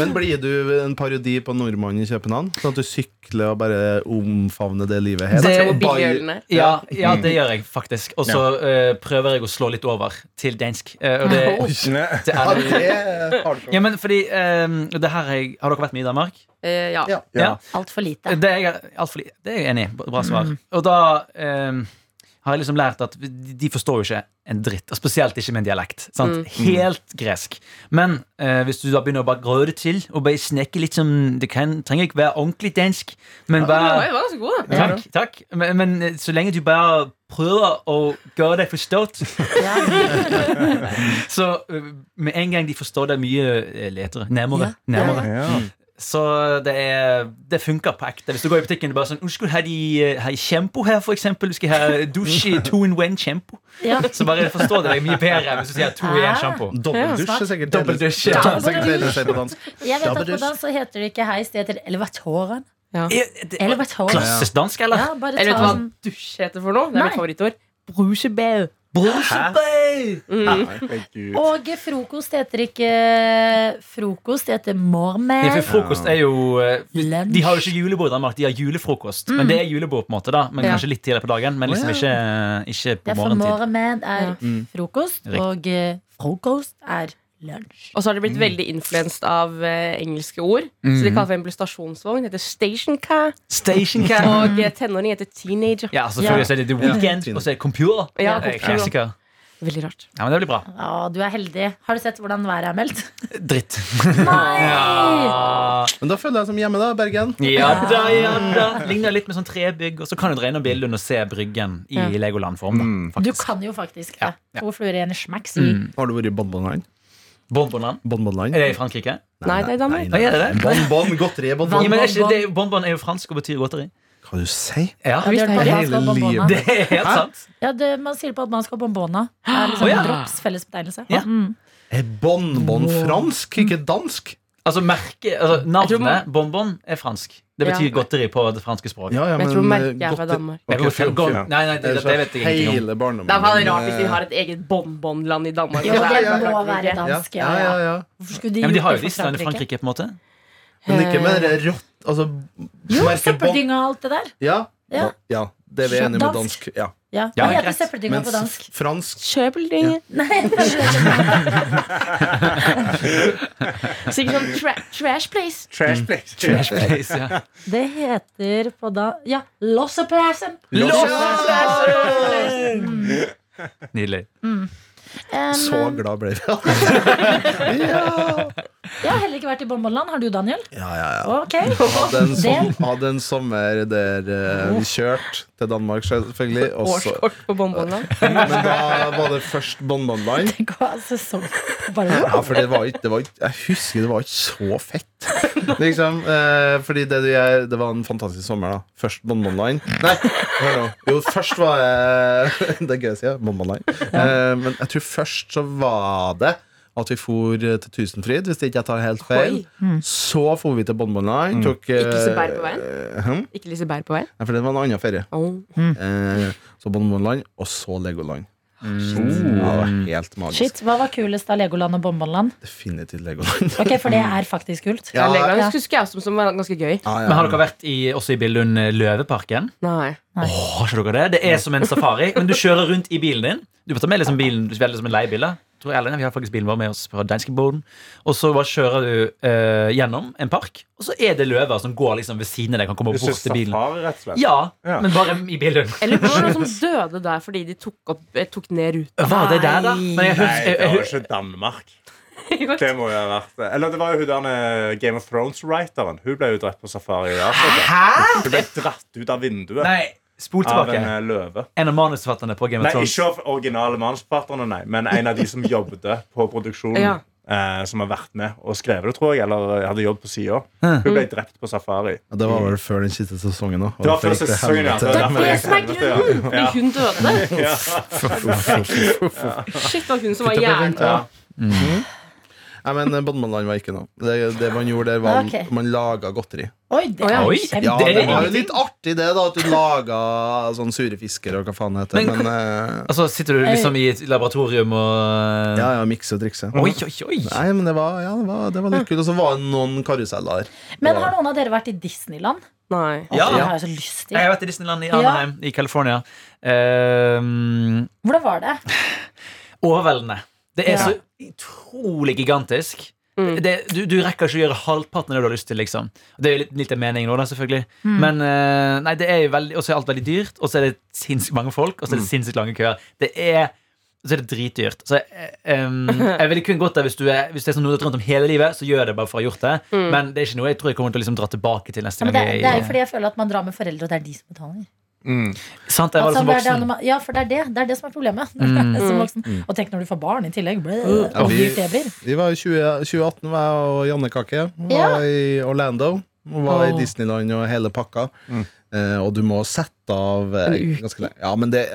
C: Men blir du en parodi på nordmannen i København? Sånn at du sykler og bare omfavner det livet her?
E: Det-
C: Bare-
D: Mobilhjulene.
E: <laughs> ja, ja, det gjør jeg faktisk. Og så eh, prøver jeg å slå litt over til dansk. Eh, og det, det
C: Ja,
E: er,
C: det er hardcore.
E: ja, men fordi eh, det her er, jeg- Har dere vært med i Danmark?
D: Eh, ja.
C: Ja.
F: Ja.
B: Altfor lite.
E: Det er jeg, alt for, li- det er jeg enig i. Bra svar. Og da eh, har jeg liksom lært at de de forstår jo ikke en dritt. Og spesielt ikke min dialekt. Sant? Helt gresk. Men eh, hvis du da begynner å bare grø det til, og bare snekke litt som Det kan, trenger ikke være ordentlig dansk, men
D: Oi,
E: bare
D: det var ganske god, da.
E: Takk. takk men, men eh, så lenge du bare prøver å gjøre deg forstått,
B: Ja.
E: så eh, med en gang de forstår det mye eh, letere, nærmere,
B: Ja.
E: nærmere
F: Ja.
E: så det, er, det funker på ekte. Hvis du går i butikken og bare sånn Unnskyld, har de, eh, har de shampoo her, for eksempel? Du skal ha dusj i two in one shampoo.
B: Ja. Ah.
E: Så bare forstår det deg mye bedre hvis du sier to i én shampoo.
C: Dobbeldusj er sikkert
E: Dobbeldusj, ja.
C: Ja, det er sikkert det de sier på dansk.
B: Jeg vet at
C: Dabbedush.
B: på dans så heter det ikke heis, det heter elevatoren.
E: Er- er det-
B: Elevatoren.
E: Klassisk dansk, eller?
B: Ja, bare
D: Eller
B: ta
D: vet du hva
B: den.
D: dusj heter for noe? Det er
B: Nei.
D: mitt favorittord. Brusebau.
E: Mm.
F: Herregud.
B: Og frokost heter ikke eh, frokost, det heter
E: Ja, for
B: mormer.
E: frokost er jo eh,
B: Lunsj.
E: De har jo ikke julebord i Danmark, de har julefrokost. Men det er julebord, på en måte da Men
D: Ja.
E: kanskje litt tidligere på dagen. Men liksom ikke, ikke
B: Det
E: på
B: er for
E: morgentid.
B: mormen er frokost,
E: Mm. Riktig.
B: og eh, frokost er lunsj.
D: Og så har det blitt veldig influenset av eh, engelske ord. Så de kaller for en stasjonsvogn. Det heter station car.
E: Station
D: Og eh, tenåring heter teenager.
E: Ja, altså, selvfølgelig så er det The Weekend,
C: Ja.
E: og så er det Computer.
D: Ja,
E: Eh,
D: computer.
E: Klassiker.
D: Veldig rart.
E: Ja, men det blir bra.
B: Ja, du er heldig. Har du sett hvordan været er meldt?
E: <laughs> Dritt.
B: Nei!
E: Ah,
C: Men da føler jeg som hjemme, da, Bergen.
E: ja da, ja da. Ligner litt med sånn trebygg, og så kan du dreie ned bildet og se bryggen i
D: Ja.
E: Legoland-form. da,
B: Du
E: Mm, faktisk.
B: kan jo faktisk
E: Ja, Mm.
B: det. To fluer i en smekk, sier
C: Har du vært i Bonbonland?
E: Bonbonland.
C: Bonbonland?
E: Er det i Frankrike?
D: Nei, det er i Danmark.
E: Hva er det?
C: Bonbon, godteri,
E: Ja,
C: bonbon.
E: men er ikke, det, bonbon er jo fransk og betyr godteri.
C: Hva du sier
E: Ja,
B: Ja, det er det man skal ha
C: Hele
B: bonbona.
E: Det er helt sant.
B: Ja, det, man sier på at man skal ha bonbona. Det er liksom
E: Å, ja.
B: en drops fellesbetegnelse.
E: Ja.
B: Mm.
C: Er bonbon fransk, ikke dansk?
E: Altså, merke, altså
D: tror
E: Navnet
D: man-
E: bonbon er fransk. Det betyr
D: Ja.
E: godteri på det franske språket.
C: Ja, ja,
D: Men jeg tror
C: men, eh,
D: merket er fra
C: godteri-
D: Danmark.
E: Jeg
C: Ok,
E: vet-
C: fjom,
E: gon-
C: fjom.
E: Nei, nei, det, det vet jeg ingenting om.
C: Hele
D: Det er veldig
C: barndommen.
D: rart hvis de har et eget bonbonland i Danmark.
B: Ja,
D: Altså,
B: det
D: er jo
B: må
D: klart
B: være
D: Norge.
B: dansk,
C: ja, ja, ja.
B: Hvorfor skulle de,
E: Ja, men de
B: gjort
E: har
B: det for
E: jo Island i Frankrike, på en måte.
C: Men ikke med
D: Eh.
C: det rått Altså,
B: Jo,
C: merket bon-
B: søppeldynga og alt det der.
C: Ja.
B: Ja.
C: ja. Det er vi enige med
B: Dansk.
C: dansk. Ja.
B: Ja.
E: Ja,
B: Hva heter
E: greit.
B: søppeldynga
C: Mens
B: på dansk?
C: fransk
D: Kjøpeldynge.
C: <laughs>
B: Nei,
D: Sikkert sånn tra trash place.
E: Mm.
F: Trash place.
E: Place, <laughs> ja.
B: det heter på da Ja, losseplassen!
E: Nydelig.
B: Um,
C: Så glad ble vi. ja.
B: Jeg har heller ikke vært i bonbonland. Har du, Daniel?
C: Ja, ja, ja.
B: Ok.
C: Hadde en, som,
B: Del.
C: hadde en sommer der eh, vi kjørte til Danmark, selvfølgelig. og så-
D: Årskort på bonbonland.
C: men da var det først bonbonland.
B: Tenk å ha sesong altså bare
C: Ja, for det var ikke, det var ikke Jeg husker det var ikke så fett. Liksom, eh, fordi det, du gjør- det var en fantastisk sommer, da. Først Bonbon Line. Nei, hør nå. Jo, først var jeg <laughs> Det er gøy å si, ja. Bonbon Line. Eh, men jeg tror først så var det at vi for eh, til Tusenfryd, hvis ikke jeg tar helt feil. Så for vi til Bonbon Line. Tok eh,
D: Ikke Liseberg på veien?
C: eh, hm?
D: Ikke Liseberg på vei.
C: Nei, for det var en annen ferie.
D: Oh.
C: Eh, så Bonbon Line, og så Legoland. Mm. Ja, det var helt magisk.
B: Shit, Hva var kulest av Legoland og Bonbonland?
C: Definitivt Legoland. <laughs>
B: Ok, For det er faktisk kult.
C: Ja,
D: Legoland
B: ja.
D: husker jeg også som var ganske gøy.
C: Ja, ja.
E: Men har dere vært i, også i Billund eh, Løveparken?
D: Nei.
E: Åh, har ikke dere det? Det er som en safari, men du kjører rundt i bilen din. Du får ta med liksom bilen, du velger som en leiebil. da. Tror jeg, eller nei, vi har faktisk bilen vår med oss fra danskeboden. Og så bare kjører du eh, gjennom en park, og så er det løver som går liksom ved siden av deg. Kan komme
F: Du
E: bort
F: synes
E: til bilen.
F: safari, rett og slett?
E: Ja,
F: Ja.
E: men bare i Billund.
D: Eller det var noen som døde der fordi de tok, opp, eh, tok ned ruta.
E: Var det der, da? Men jeg
F: Nei,
E: husker,
F: det
E: jeg,
F: var jo
E: jeg, <laughs>
F: ikke Danmark.
D: Jo.
F: Det må jo ha vært det. Eller det var jo hun derne Game of Thrones-writeren. Hun ble jo drept på safari i Afrika. Hun ble dratt ut av vinduet
E: nei, spol
F: av
E: tilbake.
F: en eh, løve.
E: En av manusforfatterne på Game
F: Nei,
E: of Thrones.
F: ikke av originale manusforfatterne, nei, men en av de som jobbet på produksjonen.
D: Ja.
F: Eh, som har vært med og skrevet det, tror jeg. Eller hadde jobb på sida. Hun
E: Mm.
F: ble drept på safari.
C: Ja, Det var vel før den siste sesongen òg.
F: Det var før sesongen, ja.
C: Det
F: derfor jeg-
D: Det som er grunnen! Fordi hun døde. Shit, det var hun som var jævla
F: Ja.
E: Mm.
C: Mm. Nei, men eh, Bonbonland var ikke noe. Det, det man gjorde der, var
B: Ok.
C: man laga godteri.
B: Oi, det er
E: Oi.
B: kjempe...
C: Ja,
E: Det
C: det, var
E: er
C: jo
E: ingenting.
C: litt artig, det, da. At du laga sånn sure fisker og hva faen det heter.
E: Men
C: Men, eh,
E: Altså, sitter du liksom i et laboratorium og eh,
C: ja, ja, mikse og trikse.
E: Oi, oi, oi!
C: Nei, men det var, ja, det var, det var litt kult. Og så var det noen karuseller der.
B: Men har noen av dere vært i Disneyland?
D: Nei.
B: Å,
E: Ja.
B: Det har jeg så lyst
E: Jeg
B: til.
E: har vært i Disneyland i Anaheim i California. Ehm,
B: Hvordan var det?
E: overveldende. Det er
B: Ja.
E: så utrolig gigantisk. Det, du, du rekker ikke å gjøre halvparten av det du har lyst til. liksom Det er jo litt, litt av meningen nå, da, selvfølgelig. Men eh, nei, det er jo veldig Og så er alt veldig dyrt, og så er det sinnssykt mange folk, og så er det sinnssykt lange køer. Det er og så er det dritdyrt. Så jeg, um, jeg ville kun gått der hvis, du er, hvis det er sånn noe du har drømt om hele livet. Så gjør jeg det bare for å ha gjort det. Men det er ikke noe jeg tror jeg kommer til å liksom dra tilbake til neste
B: Ja, men
E: gang.
B: det, det er jo
E: jeg-
B: fordi jeg føler at man drar med foreldre, og det er de som betaler.
E: Sant, jeg var
B: Altså, det er det
E: liksom voksen.
B: når man- ja, for det er det. Det er det som er problemet. <laughs> som voksen. Og tenk når du får barn i tillegg. Blø,
C: Mm. Ja,
B: og
C: vi- Mm.
B: dyrt det blir.
C: Vi var i 20, 2018, var jeg og Janne Kake. Var
B: Ja.
C: i Orlando. Og var i
D: Åh.
C: Disneyland og hele pakka. Eh, og du må sette av eh,
D: En uke.
C: ganske lenge. Ja, men det,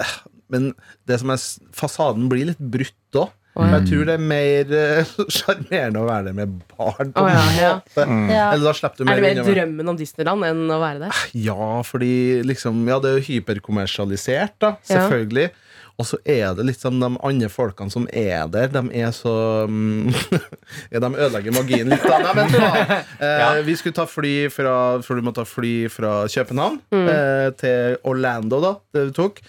C: men det som er s- Fasaden blir litt brutt òg.
D: Åh, ja.
C: Jeg tror det er mer eh, <laughs> sjarmerende å være der med barn. på
D: Åh, ja, ja.
F: Mm.
E: mm.
B: Ja.
C: Eller da slipper du
D: Er det
C: mer
D: mer
C: unna med-
D: drømmen om Disneyland enn å være der?
C: Ja, fordi liksom Ja, det er jo hyperkommersialisert, da.
D: Ja.
C: Selvfølgelig. Og så er det litt sånn de andre folkene som er der, de er så mm, <laughs> ja, De ødelegger magien litt. Da. Nei, men faen. Eh, Vi skulle ta fly fra For du må ta fly fra København eh, til Orlando, da. Det vi tok.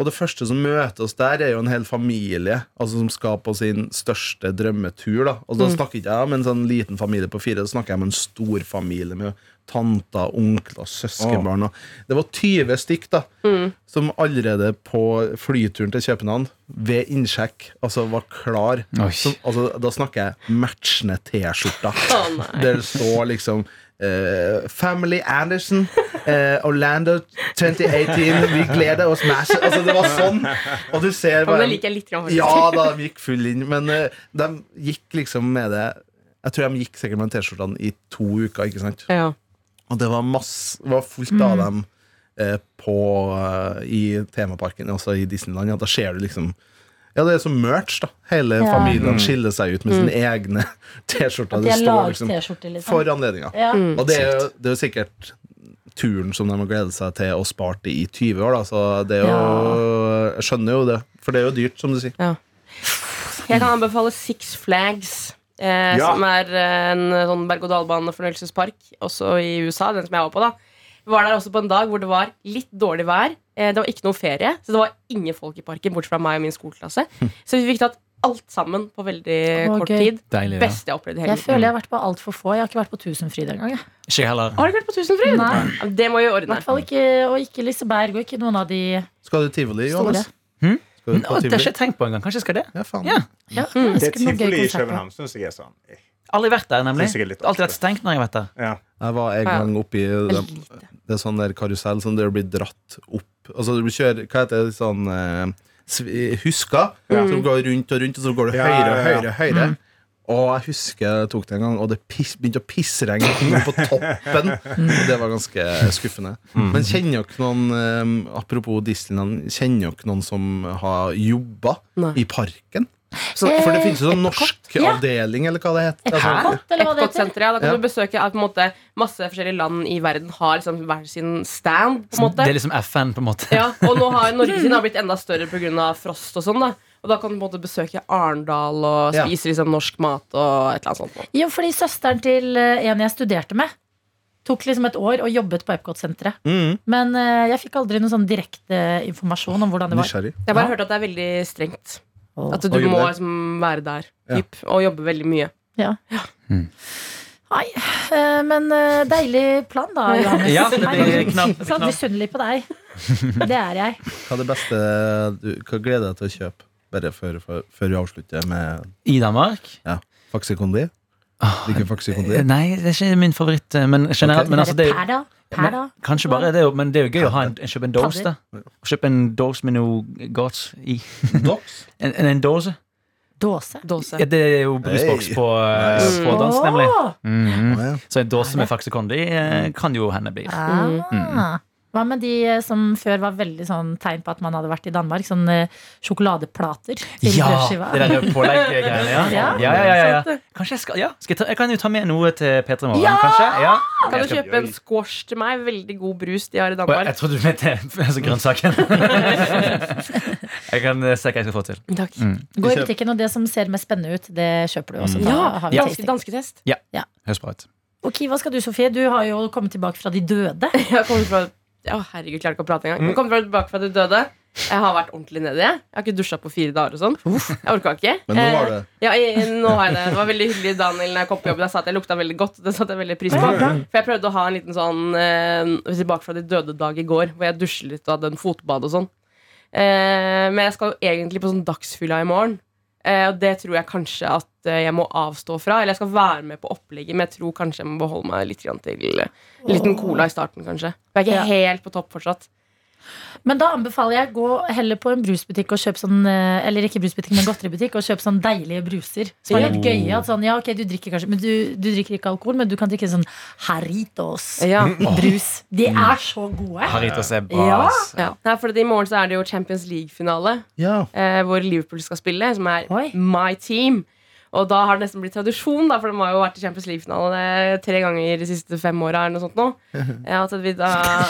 C: Og det første som møter oss der, er jo en hel familie altså som skal på sin største drømmetur. Da altså, da snakker ikke jeg om en sånn liten familie på fire, da snakker jeg om en stor familie med tanter, onkler, søskenbarn. og- Det var 20 stykk da som allerede på flyturen til København, ved innsjekk, altså var klar.
E: Oi.
C: Som, altså, da snakker jeg matchende T-skjorter.
D: Å, nei.
C: Der det står liksom eh, Family Anderson, eh, Orlando 2018, vi gleder oss masse. Altså, det var sånn. Og du ser
D: Ja, men
C: bare-
D: det liker jeg litt. Grann, faktisk.
C: ja da, de gikk full inn. Men eh, de gikk liksom med det Jeg tror de gikk sikkert med den T-skjortene i to uker. ikke sant?
D: Ja.
C: Og det var, masse, det var fullt
B: Mm.
C: av dem eh, på, eh, i temaparken, altså i Disneyland. Ja, da ser du liksom Ja, det er som merch, da. Hele
B: Ja. Mm.
C: familien
E: Mm.
C: skiller seg ut med sine egne <laughs> T-skjorter.
B: De
C: Det
B: har
C: står
B: laget
C: liksom
B: T-skjorter, liksom.
C: for anledninga.
B: Ja.
E: Mm.
C: Og det er, jo, det er jo sikkert turen som de har gledet seg til og spart i i 20 år, da. Så det er jo Jeg skjønner jo det. For det er jo dyrt, som du sier.
D: Jeg kan anbefale Six Flags. Eh,
F: Ja.
D: Som er eh, en eh, sånn berg-og-dal-bane-fornøyelsespark, også i USA. Den som jeg var på, da. Vi var der også på en dag hvor det var litt dårlig vær. Eh, det var ikke noe ferie, så det var ingen folk i parken, bortsett fra meg og min skoleklasse.
C: Hm.
D: Så vi fikk tatt alt sammen på veldig
B: Å,
D: kort
B: gøy.
D: tid.
E: Deilig, ja.
D: Beste jeg har opplevd i
B: Jeg
D: hele
B: føler jeg har vært på altfor få. Jeg har ikke vært på Tusenfryd engang. jeg.
E: Ikke jeg heller.
D: Har du ikke vært på Tusenfryd?
B: Nei.
D: Ja, Det må vi
B: I
D: ordne.
B: hvert fall ikke, og ikke Liseberg og ikke noen av de
C: Skal du tivoli,
B: Store.
C: Johannes?
E: Hm?
C: Skal du på
E: Nå, det har ikke
C: tivoli?
E: jeg tenkt på engang. Kanskje jeg skal det?
C: Ja, faen.
E: Ja.
B: ja,
C: Mm.
F: Det er
B: jeg husker noen gøye
F: tivoli i
B: konserter.
F: København, syns jeg er sånn.
E: Aldri vært der, nemlig.
F: Synes jeg er litt
E: Det har alltid vært stengt når jeg har vært der.
F: Ja.
C: Jeg var en
D: Ja.
C: gang oppi
D: Veldig
C: dem.
D: lite.
C: Det er sånn der karusell som dere blir dratt opp Altså du blir kjører, hva heter det, sånn eh, svi- Huska Som går rundt og rundt, og så går du
F: Ja,
C: høyere og
F: ja, ja.
C: høyere og høyere Og jeg husker jeg tok det en gang Og det piss, begynte å pissregne inn på toppen Og det var ganske skuffende
F: Mm.
C: Men kjenner dere noen eh, Apropos Disneyland Kjenner dere noen som har jobbet
D: Nei.
C: I parken? Så, for det finnes jo sånn norsk
B: Ja.
C: avdeling Eller hva det heter Altså,
B: Epcot, eller hva det heter.
D: Epcot-senteret. ja. Da kan
C: Ja.
D: du besøke ja, på en måte, masse forskjellige land i verden har liksom hver sin stand. på en måte
E: Det er liksom FN, på en måte.
D: Ja, og nå har Norge sin har blitt enda større pga. frost og sånn. da Og da kan du på en måte besøke Arendal og
C: Ja.
D: spise liksom norsk mat og et eller annet sånt.
B: Jo, fordi søsteren til eh, en jeg studerte med, tok liksom et år og jobbet på Epcot-senteret.
C: mm,
B: Men eh, jeg fikk aldri noen sånn direkte informasjon om hvordan det var.
C: nysgjerrig
D: Jeg bare hørte at det er veldig strengt.
B: Åh.
D: At du
C: Og jobbe
D: må
C: der.
D: liksom være der
C: Ja.
D: typ, og jobbe veldig mye.
B: Ja.
E: Mm.
B: Nei, eh, men eh, deilig plan da, Johannes.
E: Ja, det blir
B: Nei,
E: knapt.
B: Sånn misunnelig på
E: <laughs>
B: deg. Det er jeg.
C: Hva er det beste du hva gleder deg til å kjøpe? Bare før, før, før vi avslutter med
E: I Danmark?
C: ja, faksikondi. Liker faksikondi.
E: Nei, det er ikke min favoritt, men generelt. Men altså, det er jo
B: Per da. Per da.
E: Kanskje bare det, er jo- men det er jo gøy å ha en, en kjøpe en dose, da.
B: Padder.
E: Kjøpe en dose med noe godt i.
C: Dox?
E: En, en, en dose?
B: Dåse.
D: Dåse.
E: Ja, det er jo brusboks
C: Hey.
E: på, eh,
C: Nice.
E: på dans, nemlig.
B: Åh!
E: Mhm.
C: Ja, ja.
E: Så en dose med faxekondi eh, kan jo hende bli.
B: Ah.
E: Mm.
B: Hva med de eh, som før var veldig sånn tegn på at man hadde vært i Danmark? Sånn eh, sjokoladeplater til
E: Ja!
B: brødskiva.
E: Det der pålegggreiene. Ja. Ja,
B: Ja.
E: ja, ja, ja, ja. Kanskje jeg skal Ja, skal jeg, ta, jeg kan jo ta med noe til P3 Morgen,
B: Ja!
E: kanskje? Ja.
D: Kan
E: Jeg
D: du
E: skal-
D: kjøpe en squash til meg? Veldig god brus de har i
E: Å, jeg-
D: Danmark.
E: Jeg trodde du mente <laughs> altså, <laughs> grønnsaken. jeg kan eh, se hva jeg skal få til.
D: Takk.
B: Gå i butikken, og det som ser mest spennende ut, det kjøper du
E: Mm.
B: også. Da
D: Ja,
B: har vi
D: danske,
B: tasting.
D: dansketest.
E: Høres bra ut.
B: Ok, hva skal du, Sofie? Du har jo kommet tilbake fra de døde.
D: <laughs> Jeg kommer fra Å, herregud, jeg klarer ikke å prate engang. Jeg kommer fra- tilbake fra de døde. Jeg har vært ordentlig nedi. Jeg har ikke dusja på fire dager og sånn. Jeg orka ikke.
C: Men nå
D: Eh,
C: var det
D: Ja, jeg, nå har jeg det. Det var veldig hyggelig Daniel når jeg kom på jobb. Jeg sa at jeg lukta veldig godt. Det satte jeg veldig pris på. For jeg prøvde å ha en liten sånn eh, tilbake fra de døde dag i går, hvor jeg dusjer litt og hadde en fotbad og sånn. Eh, men jeg skal jo egentlig på sånn dagsfylla i morgen. Eh, og det tror jeg kanskje at eh, jeg må avstå fra. Eller jeg skal være med på opplegget, men jeg tror kanskje jeg må beholde meg litt grann til eh, en liten cola i starten, kanskje. For jeg er ikke helt på topp fortsatt.
B: Men da anbefaler jeg gå heller på en brusbutikk og kjøpe sånn eh, Eller ikke brusbutikk, men godteributikk og kjøpe sånn deilige bruser. Som er litt gøye. At sånn, ja, ok, du drikker kanskje Men du, du drikker ikke alkohol, men du kan drikke sånn Haritos-brus.
D: Ja. Mm.
B: De er så gode.
E: Haritos er bra.
B: Ja.
E: ass.
D: Ja. Nei, for I morgen så er det jo Champions League-finale.
C: Ja.
D: eh, hvor Liverpool skal spille, som er
B: Oi.
D: My Team. Og da har det nesten blitt tradisjon, da, for de har jo vært i Champions League-finale eh, tre ganger de siste fem åra. eller
B: <laughs>
D: noe sånt nå. Eh, At vi da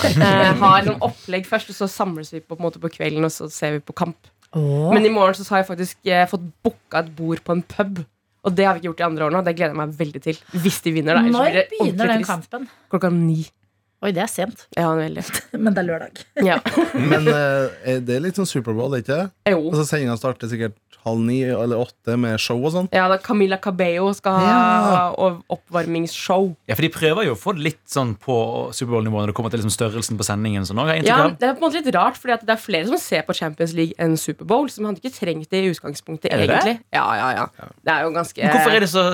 D: eh, har sånn opplegg først, og så samles vi på, på, en måte på kvelden, og så ser vi på kamp.
B: Åh.
D: Men i morgen så har jeg faktisk eh, fått booka et bord på en pub. Og det har vi ikke gjort de andre årene, og det gleder jeg meg veldig til. Hvis de vinner, da. ellers
B: Når
D: blir det ordentlig
B: begynner den
D: trist.
B: kampen?
D: Klokka ni.
B: Oi, det er sent,
D: Ja, veldig.
B: <laughs> men det er lørdag.
D: Ja. <laughs>
C: Men eh, er det er litt sånn Superbowl, ikke det?
D: Jo.
C: Altså, Sendinga starter sikkert halv ni eller åtte med show og sånn.
D: Ja, da Camilla Cabello skal ha ov- oppvarmingsshow.
E: Ja, for De prøver jo å få det litt sånn på Superbowl-nivå når det kommer til liksom størrelsen på sendingen. Sånn, også, har jeg
D: Ja,
E: inntrykk av.
D: det er på en måte litt rart, fordi at det er flere som ser på Champions League enn Superbowl. Som hadde ikke trengt det i utgangspunktet,
E: det det?
D: egentlig. Ja, ja, ja. Det er jo ganske
E: Hvorfor er det så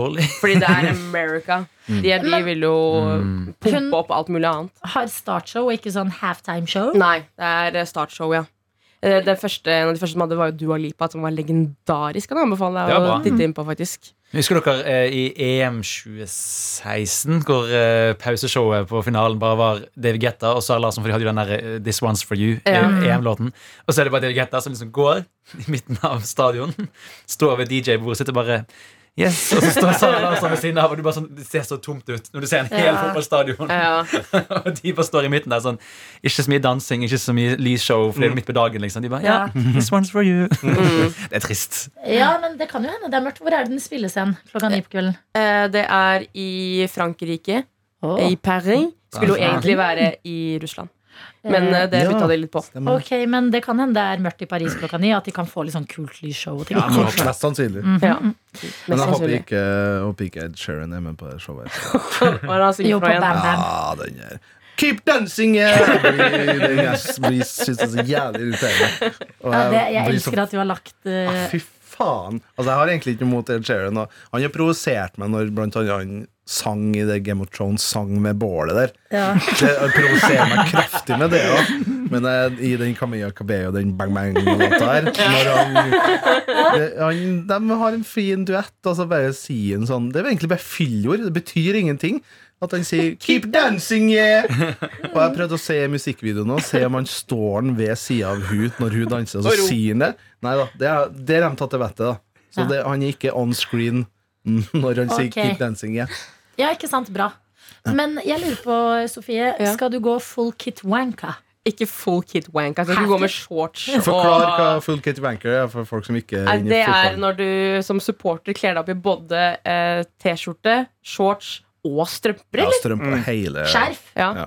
E: dårlig?
D: Fordi det er America.
E: Mm.
D: De, de vil jo
B: Hun-
D: pumpe opp alt mulig annet.
B: Har startshow og ikke sånn halftime-show.
D: Nei, det er startshow, ja. Eh, Den første, en av de første som hadde, var jo Dua Lipa, som var legendarisk. Kan jeg anbefale
E: Det
D: deg å
E: var bra.
D: titte inn på, faktisk.
E: Husker dere eh, i EM 2016, hvor eh, pauseshowet på finalen bare var David Guetta og Sara Larsson, for de hadde jo den der eh, This One's For You, eh,
D: Ja.
E: EM-låten. Og så er det bare David Guetta som liksom går i midten av stadion, står ved DJ-bordet sitt og bare Yes, Og så står Sara Larsson ved siden av, og du bare sånn, det ser så tomt ut når du ser en hel
B: Ja.
E: fotballstadion.
D: Ja.
E: <laughs> Og de bare står i midten der sånn Ikke så mye dansing, ikke så mye lysshow, for
D: Mm.
E: det er jo midt på dagen, liksom. De bare Ja,
B: Ja.
E: this one's for
D: <laughs>
E: you. <laughs> Det er trist.
B: Ja, men det kan jo hende det er mørkt. Hvor er det den spilles hen? Klokka ni på kvelden.
D: Eh, Det er i Frankrike,
B: Åh.
D: i Paris. Skulle jo
E: Paris.
D: egentlig være i Russland, men eh, det
C: Ja.
D: bytta de litt på.
C: Stemmer.
B: Ok, men det kan hende det er mørkt i Paris klokka ni, at de kan få litt sånn kult lysshow og ting.
E: Ja, men-
C: Mest sannsynlig.
D: Ja.
C: Men
D: Mest
C: jeg håper
D: sannsynlig.
C: ikke, håper ikke Ed Sheeran er med på det showet.
B: <laughs>
D: Hva er det han synger
B: Jo,
D: for
B: på
D: noe igjen?
B: Bam Bam.
C: Ja, den der Keep
B: <laughs>
C: dancing! Jeg blir- jeg blir- synes det er så jævlig irriterende. Og
B: Ja, det, jeg
C: blir Eh, så-
B: elsker at du har lagt
C: Ah,
B: eh,
C: Fy faen! Altså, jeg har egentlig ikke noe imot Ed Sheeran. og Han har provosert meg når blant annet han sang i det Game of Thrones sang med bålet der.
B: ja.
C: <laughs> Det han provoserer meg kraftig med det òg. Men eh, i den Camilla Cabello, den Bang Bang-låta her når han,
D: <laughs>
C: det, han, De har en fin duett, og så bare sier han sånn Det er jo egentlig bare fyllord. Det betyr ingenting. At han sier 'keep dancing', yeah! Og jeg prøvde å se musikkvideoen og se om han står han ved sida av hun når hun danser, og så sier han det. Nei da, det er, det er de tatt til vettet, da. Så
B: Ja.
C: det, han er ikke on screen <laughs> når han sier
B: Ok.
C: 'keep dancing', yeah.
B: ja, ikke sant? Bra. Men jeg lurer på, Sofie,
D: Ja.
B: skal du gå full kit wanka?
D: Ikke full kit wank. Altså, du
B: Hæ?
D: går med shorts.
C: Forklar hva
D: og-
C: full kitty banker er for folk som ikke
D: Nei,
C: er inne i
D: Det er
C: fotballen.
D: når du som supporter kler deg opp i både eh, T-skjorte, shorts og strømper.
C: Ja,
D: Eller?
C: strømper hele
B: Skjerf?
D: Ja.
C: Ja.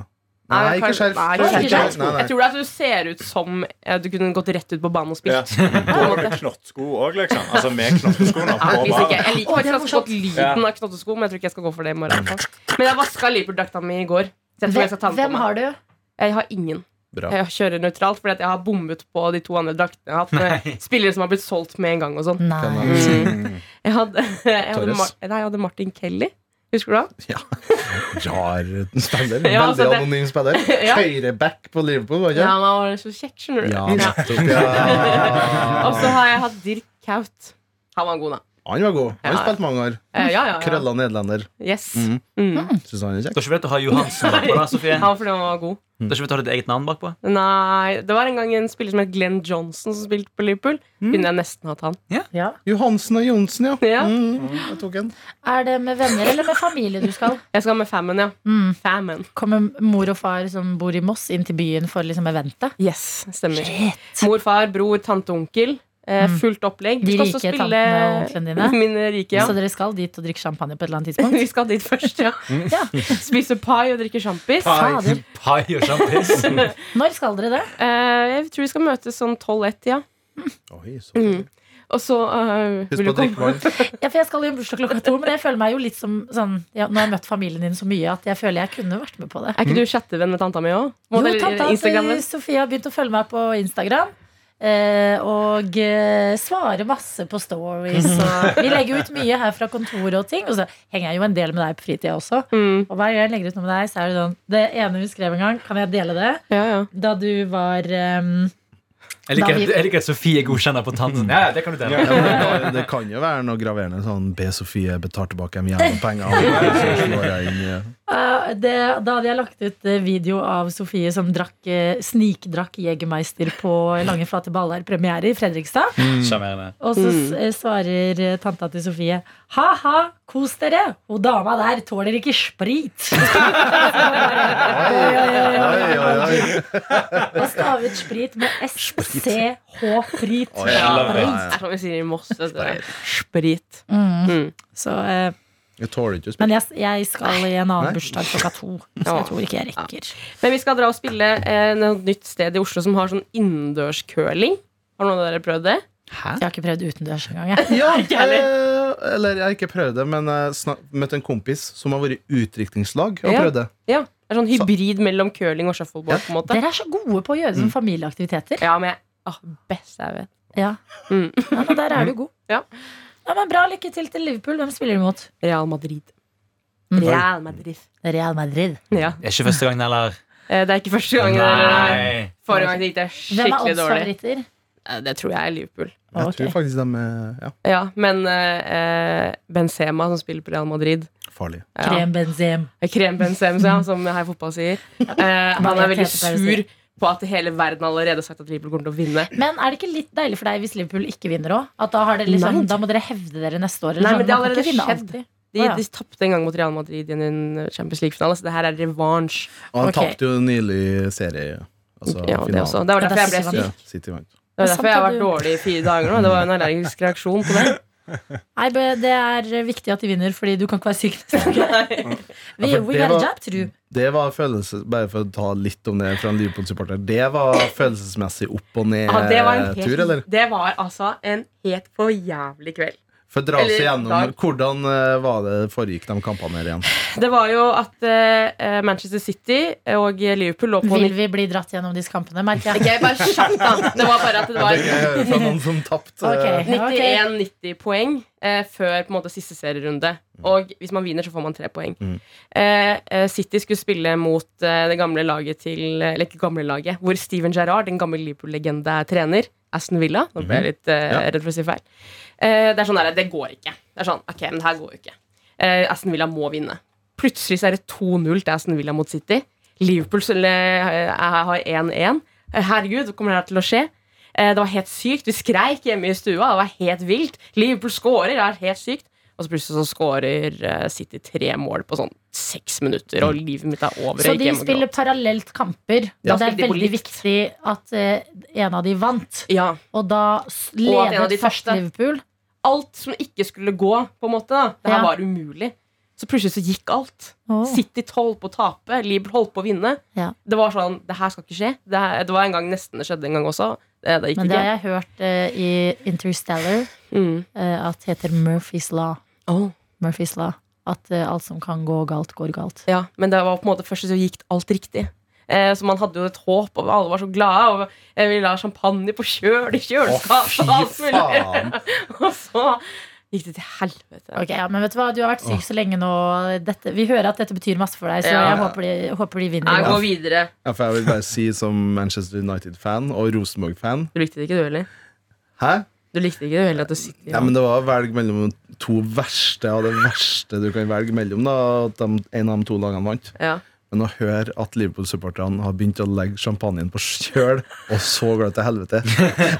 D: Nei,
C: Nei, ikke
D: kanskje-
C: skjerf.
D: Nei,
B: ikke
C: Nei,
B: skjerf.
C: nei, nei.
D: Jeg tror det er at du ser ut som eh, du kunne gått rett ut på banen og
F: Ja.
D: spilt.
F: Og med knottsko òg, liksom. Altså med knottskoene
D: Ja,
F: på
D: hvis ikke,
F: baren.
D: jeg liker
B: Å, det er
D: faktisk ganske godt lyden
F: Ja.
D: av knottesko, men jeg tror ikke jeg skal gå for det i morgen. i hvert fall. Men jeg vaska Liverpool-drakta mi i går. Så jeg tror jeg skal ta
B: Hvem,
D: den på
B: hvem
D: meg.
B: har du?
D: Jeg har ingen.
C: Bra.
D: Jeg kjører nøytralt, fordi at jeg har bommet på de to andre draktene jeg har hatt. Med spillere som har blitt solgt med en gang og sånn.
B: Nei.
D: Mm. Jeg hadde, jeg, hadde
C: Torres.
D: Mar nei, jeg hadde Martin Kelly. Husker du han?
C: Rar spiller.
D: Ja, altså,
C: Veldig
D: det-
C: anonym spiller.
D: <laughs> Ja.
C: Høyreback på Liverpool, var
D: Ja,
C: ikke det?
D: han var så kjekk, skjønner du.
C: Ja,
D: Ja.
C: nettopp, ja.
D: <laughs> Og så har jeg hatt Dirk Kaut. Han var god, da.
C: Han var god. Han
D: Ja.
C: spilte mange år.
D: Eh, Ja, ja, ja.
C: Krølla nederlender.
D: Yes.
C: Mm.
D: Mm.
C: Syns han er
E: Du
C: kjekk.
E: har ikke vet du har Johansen bakpå, da, Sofie?
D: Han var fordi han var god.
E: Du har ikke vet du har ditt eget navn bakpå?
D: Nei, det var en gang en spiller som het Glenn Johnson, som spilte på Liverpool.
C: Mm.
D: Kunne jeg nesten hatt han.
B: Ja.
C: Johansen og Johnsen, ja.
D: Ja.
C: Mm, jeg tok en.
B: Er det med venner eller med familie du skal?
D: Jeg skal med Famine, ja.
B: Mm.
D: Famine.
B: <laughs> Kommer mor og far som bor i Moss, inn til byen for liksom eventet?
D: Yes, stemmer.
B: Shit.
D: Mor, far, bror, tante, onkel. Eh, fullt opplegg.
B: De
D: Vi skal også
B: rike
D: spille-
B: tantene og onklene dine?
D: <laughs> Mine rike, ja.
B: Så dere skal dit og drikke champagne på et eller annet tidspunkt? <laughs>
D: Vi skal dit først, ja. Spise pai og drikke sjampis.
B: Fader.
E: Pai og sjampis.
B: Når skal dere det?
D: Eh, jeg tror vi skal møtes sånn 12-1, ja.
C: Oi, så
D: Mm. Og så eh,
C: Husk
D: vil
C: på
D: du
C: å
D: komme?
C: drikke vann.
B: Ja, for jeg skal jo i bursdag klokka to, men jeg føler meg jo litt som sånn ja, Nå har jeg møtt familien din så mye at jeg føler jeg kunne vært med på det.
D: Er ikke du chattevenn med tanta mi òg?
B: Jo, tanta til Sofie har begynt å følge meg på Instagram. eh, Og eh, svarer masse på stories. Og vi legger ut mye her fra kontoret og ting. Og så henger jeg jo en del med deg på fritida også.
D: Mm.
B: Og hver gang jeg legger ut noe med deg, så er det sånn Det ene vi skrev en gang, kan jeg dele det?
D: Ja, ja.
B: Da du var ehm,
E: Jeg liker, at- jeg liker at Sofie godkjenner på tanten. Ja, ja, det kan du dele.
C: Ja, men det- Det kan jo være noe graverende sånn Be Sofie betale tilbake de jævla
D: <laughs>
C: pengene. Så slår jeg inn, eh,
B: eh, det, Da hadde jeg lagt ut eh, video av Sofie som drakk, eh, snikdrakk Jegermeister på Lange flate baller premiere i Fredrikstad.
E: Sjarmerende.
B: Og så s- eh, svarer eh, tanta til Sofie ha-ha, kos <laughs> dere! Hun dama der tåler ikke sprit. Oi, oi, oi, oi, Og stave ut sprit med SCH-prit.
C: Oi, jeg
D: Ja,
C: lover
D: det
C: det.
D: er som vi sier i Moss. vet du. Sprit.
B: Så, eh,
C: Jeg tåler ikke å spille.
B: men jeg, jeg skal i en annen
C: Nei.
B: bursdag klokka to, så jeg tror ikke jeg rekker.
D: Men vi skal dra og spille eh, et nytt sted i Oslo som har sånn innendørscurling. Har noen av dere prøvd det?
E: Hæ?
B: Jeg har ikke prøvd utendørs engang. jeg.
C: Ja,
D: Ikke heller.
C: eh, eller jeg har ikke prøvd det, men jeg snak- møtte en kompis som har vært i utdrikningslag og
D: Ja.
C: prøvd det.
D: Ja, det er sånn hybrid mellom curling og shuffleboard. på en måte
B: <laughs> Dere er så gode på å gjøre sånne familieaktiviteter.
D: Ja, men jeg ah, Best jeg vet.
B: Ja.
D: Mm.
B: ja, men der er du god.
D: Ja.
B: Ja, men bra, lykke til til Liverpool. Hvem spiller du mot?
D: Real Madrid.
B: Mm.
D: Real Madrid.
B: Real Madrid.
D: Ja.
E: Det er ikke første gangen, heller.
D: Eh, Det er ikke første gang. Dere,
E: Nei.
D: forrige gang gikk det
B: Hvem er
D: skikkelig dårlig.
B: oddsfavoritter?
D: Eh, Det tror jeg er Liverpool.
C: Jeg
B: Ok.
C: tror faktisk de er ja,
D: Ja, men eh, eh, Benzema, som spiller på Real Madrid
C: farlige.
D: ja. Eh,
B: Krem Benzem.
D: Krem Benzema, ja, som her i fotball sier. Eh, han er veldig sur på at hele verden allerede har sagt at Liverpool kommer til å vinne.
B: Men er det ikke litt deilig for deg hvis Liverpool ikke vinner òg? Da, har dere liksom,
D: Nei.
B: da må dere hevde dere neste år. eller
D: Nei,
B: sånn.
D: men det har
B: Man kan
D: allerede
B: ikke vinne
D: skjedd.
B: alltid.
D: De,
B: Å, ja.
D: de tapte en gang mot Real Madrid i en Champions League-finale, så det her er revansj.
C: Og han
B: Ok.
C: tapte jo nylig serie. Altså
D: ja, det,
C: finalen.
D: også. det var
B: Ja,
D: derfor jeg
B: det
D: ble
B: synes
D: syk.
B: jeg
C: Ja, City vant.
D: Det var derfor jeg har vært
B: Samtidig-
D: dårlig i fire dager nå. Det var en allergisk reaksjon på det.
B: Nei, men Det er viktig at de vinner, fordi du kan ikke være syk neste uke. We,
C: Ja, for
B: we
C: det
B: got a
C: var-
B: job to do.
C: Det var følelses, Bare for å ta litt om det fra en Liverpool-supporter. Det var følelsesmessig opp og ned-tur,
D: Ja, det, var en helt,
C: Eh, eller?
D: det var altså en helt for jævlig kveld.
C: For dra oss
D: Eller
C: igjennom
D: dag.
C: Hvordan eh, var det foregikk de kampene her igjen?
D: Det var jo at eh, Manchester City og Liverpool lå på
B: Vil vi bli dratt gjennom disse kampene, merker jeg.
D: Ok, bare kjapt, da. Det var bare at det var
C: hører fra noen som tapte.
B: Ok.
D: 91-90 poeng eh, før på en måte siste serierunde. Og hvis man vinner, så får man tre poeng.
C: Mm.
D: Eh, eh, City skulle spille mot eh, det gamle laget til Eller ikke gamle laget, hvor Steven Gerrard, den gamle Liverpool-legende, er trener. Aston Villa. Nå ble jeg litt eh,
C: Mhm. Ja.
D: redd for å si feil. Eh, det er sånn der, det går ikke. Det er sånn, ok, men det her går jo ikke. Eh, Aston Villa må vinne. Plutselig så er det 2-0 til Aston Villa mot City. Liverpool så, eh, har 1-1. Herregud, hva kommer det her til å skje? Eh, Det var helt sykt. Vi skreik hjemme i stua. Det var helt vilt. Liverpool skårer. Det er helt sykt. Og så plutselig så skårer eh, City tre mål på sånn seks minutter, og livet mitt er over.
B: Mm. Så
D: Jeg gikk
B: de
D: hjem og
B: spiller
D: gråt.
B: parallelt kamper.
D: Ja,
B: Og det er
D: spilte de på
B: veldig
D: likt.
B: viktig at eh, en av de vant.
D: ja.
B: Og da s-
D: Og at en av de
B: ledet først
D: tapte.
B: Liverpool.
D: Alt som ikke skulle gå, på en måte. da Det her
B: Ja.
D: var umulig. Så plutselig så gikk alt.
B: Åh.
D: City holdt på å tape. Liverpool holdt på å vinne.
B: Ja.
D: Det var sånn Det her skal ikke skje. Det, her, det var en gang nesten det skjedde en gang også. Det, det gikk
B: Men det har
D: ikke.
B: jeg hørt eh, i Interstellar
D: Mm.
B: eh, at heter Murphys Law.
D: Åh.
B: Murphys Law. At eh, alt som kan gå galt, går galt.
D: Ja, men det var på en måte først så gikk alt riktig. Eh, så man hadde jo et håp, og alle var så glade. Og eh, vi la champagne på kjøl i kjøleskapet. og alt mulig. <laughs> og så gikk det til helvete.
B: Ok, ja, men vet Du hva, du har vært syk så lenge nå. Dette, vi hører at dette betyr masse for deg, så
D: Ja.
B: jeg håper de, håper de vinner.
D: Jeg
B: i
D: går
B: går.
D: videre.
C: Ja, for jeg vil bare si som Manchester United-fan og Rosenborg-fan
D: Du likte det ikke, du heller?
C: Hæ?
D: Du likte ikke det heller at du sitter
C: Ja, men det var å velge mellom to verste av det verste du kan velge mellom. da At de, en av de to lagene vant.
D: Ja.
C: Men å høre at Liverpool-supporterne har begynt å legge champagnen på kjøl, og så går det til helvete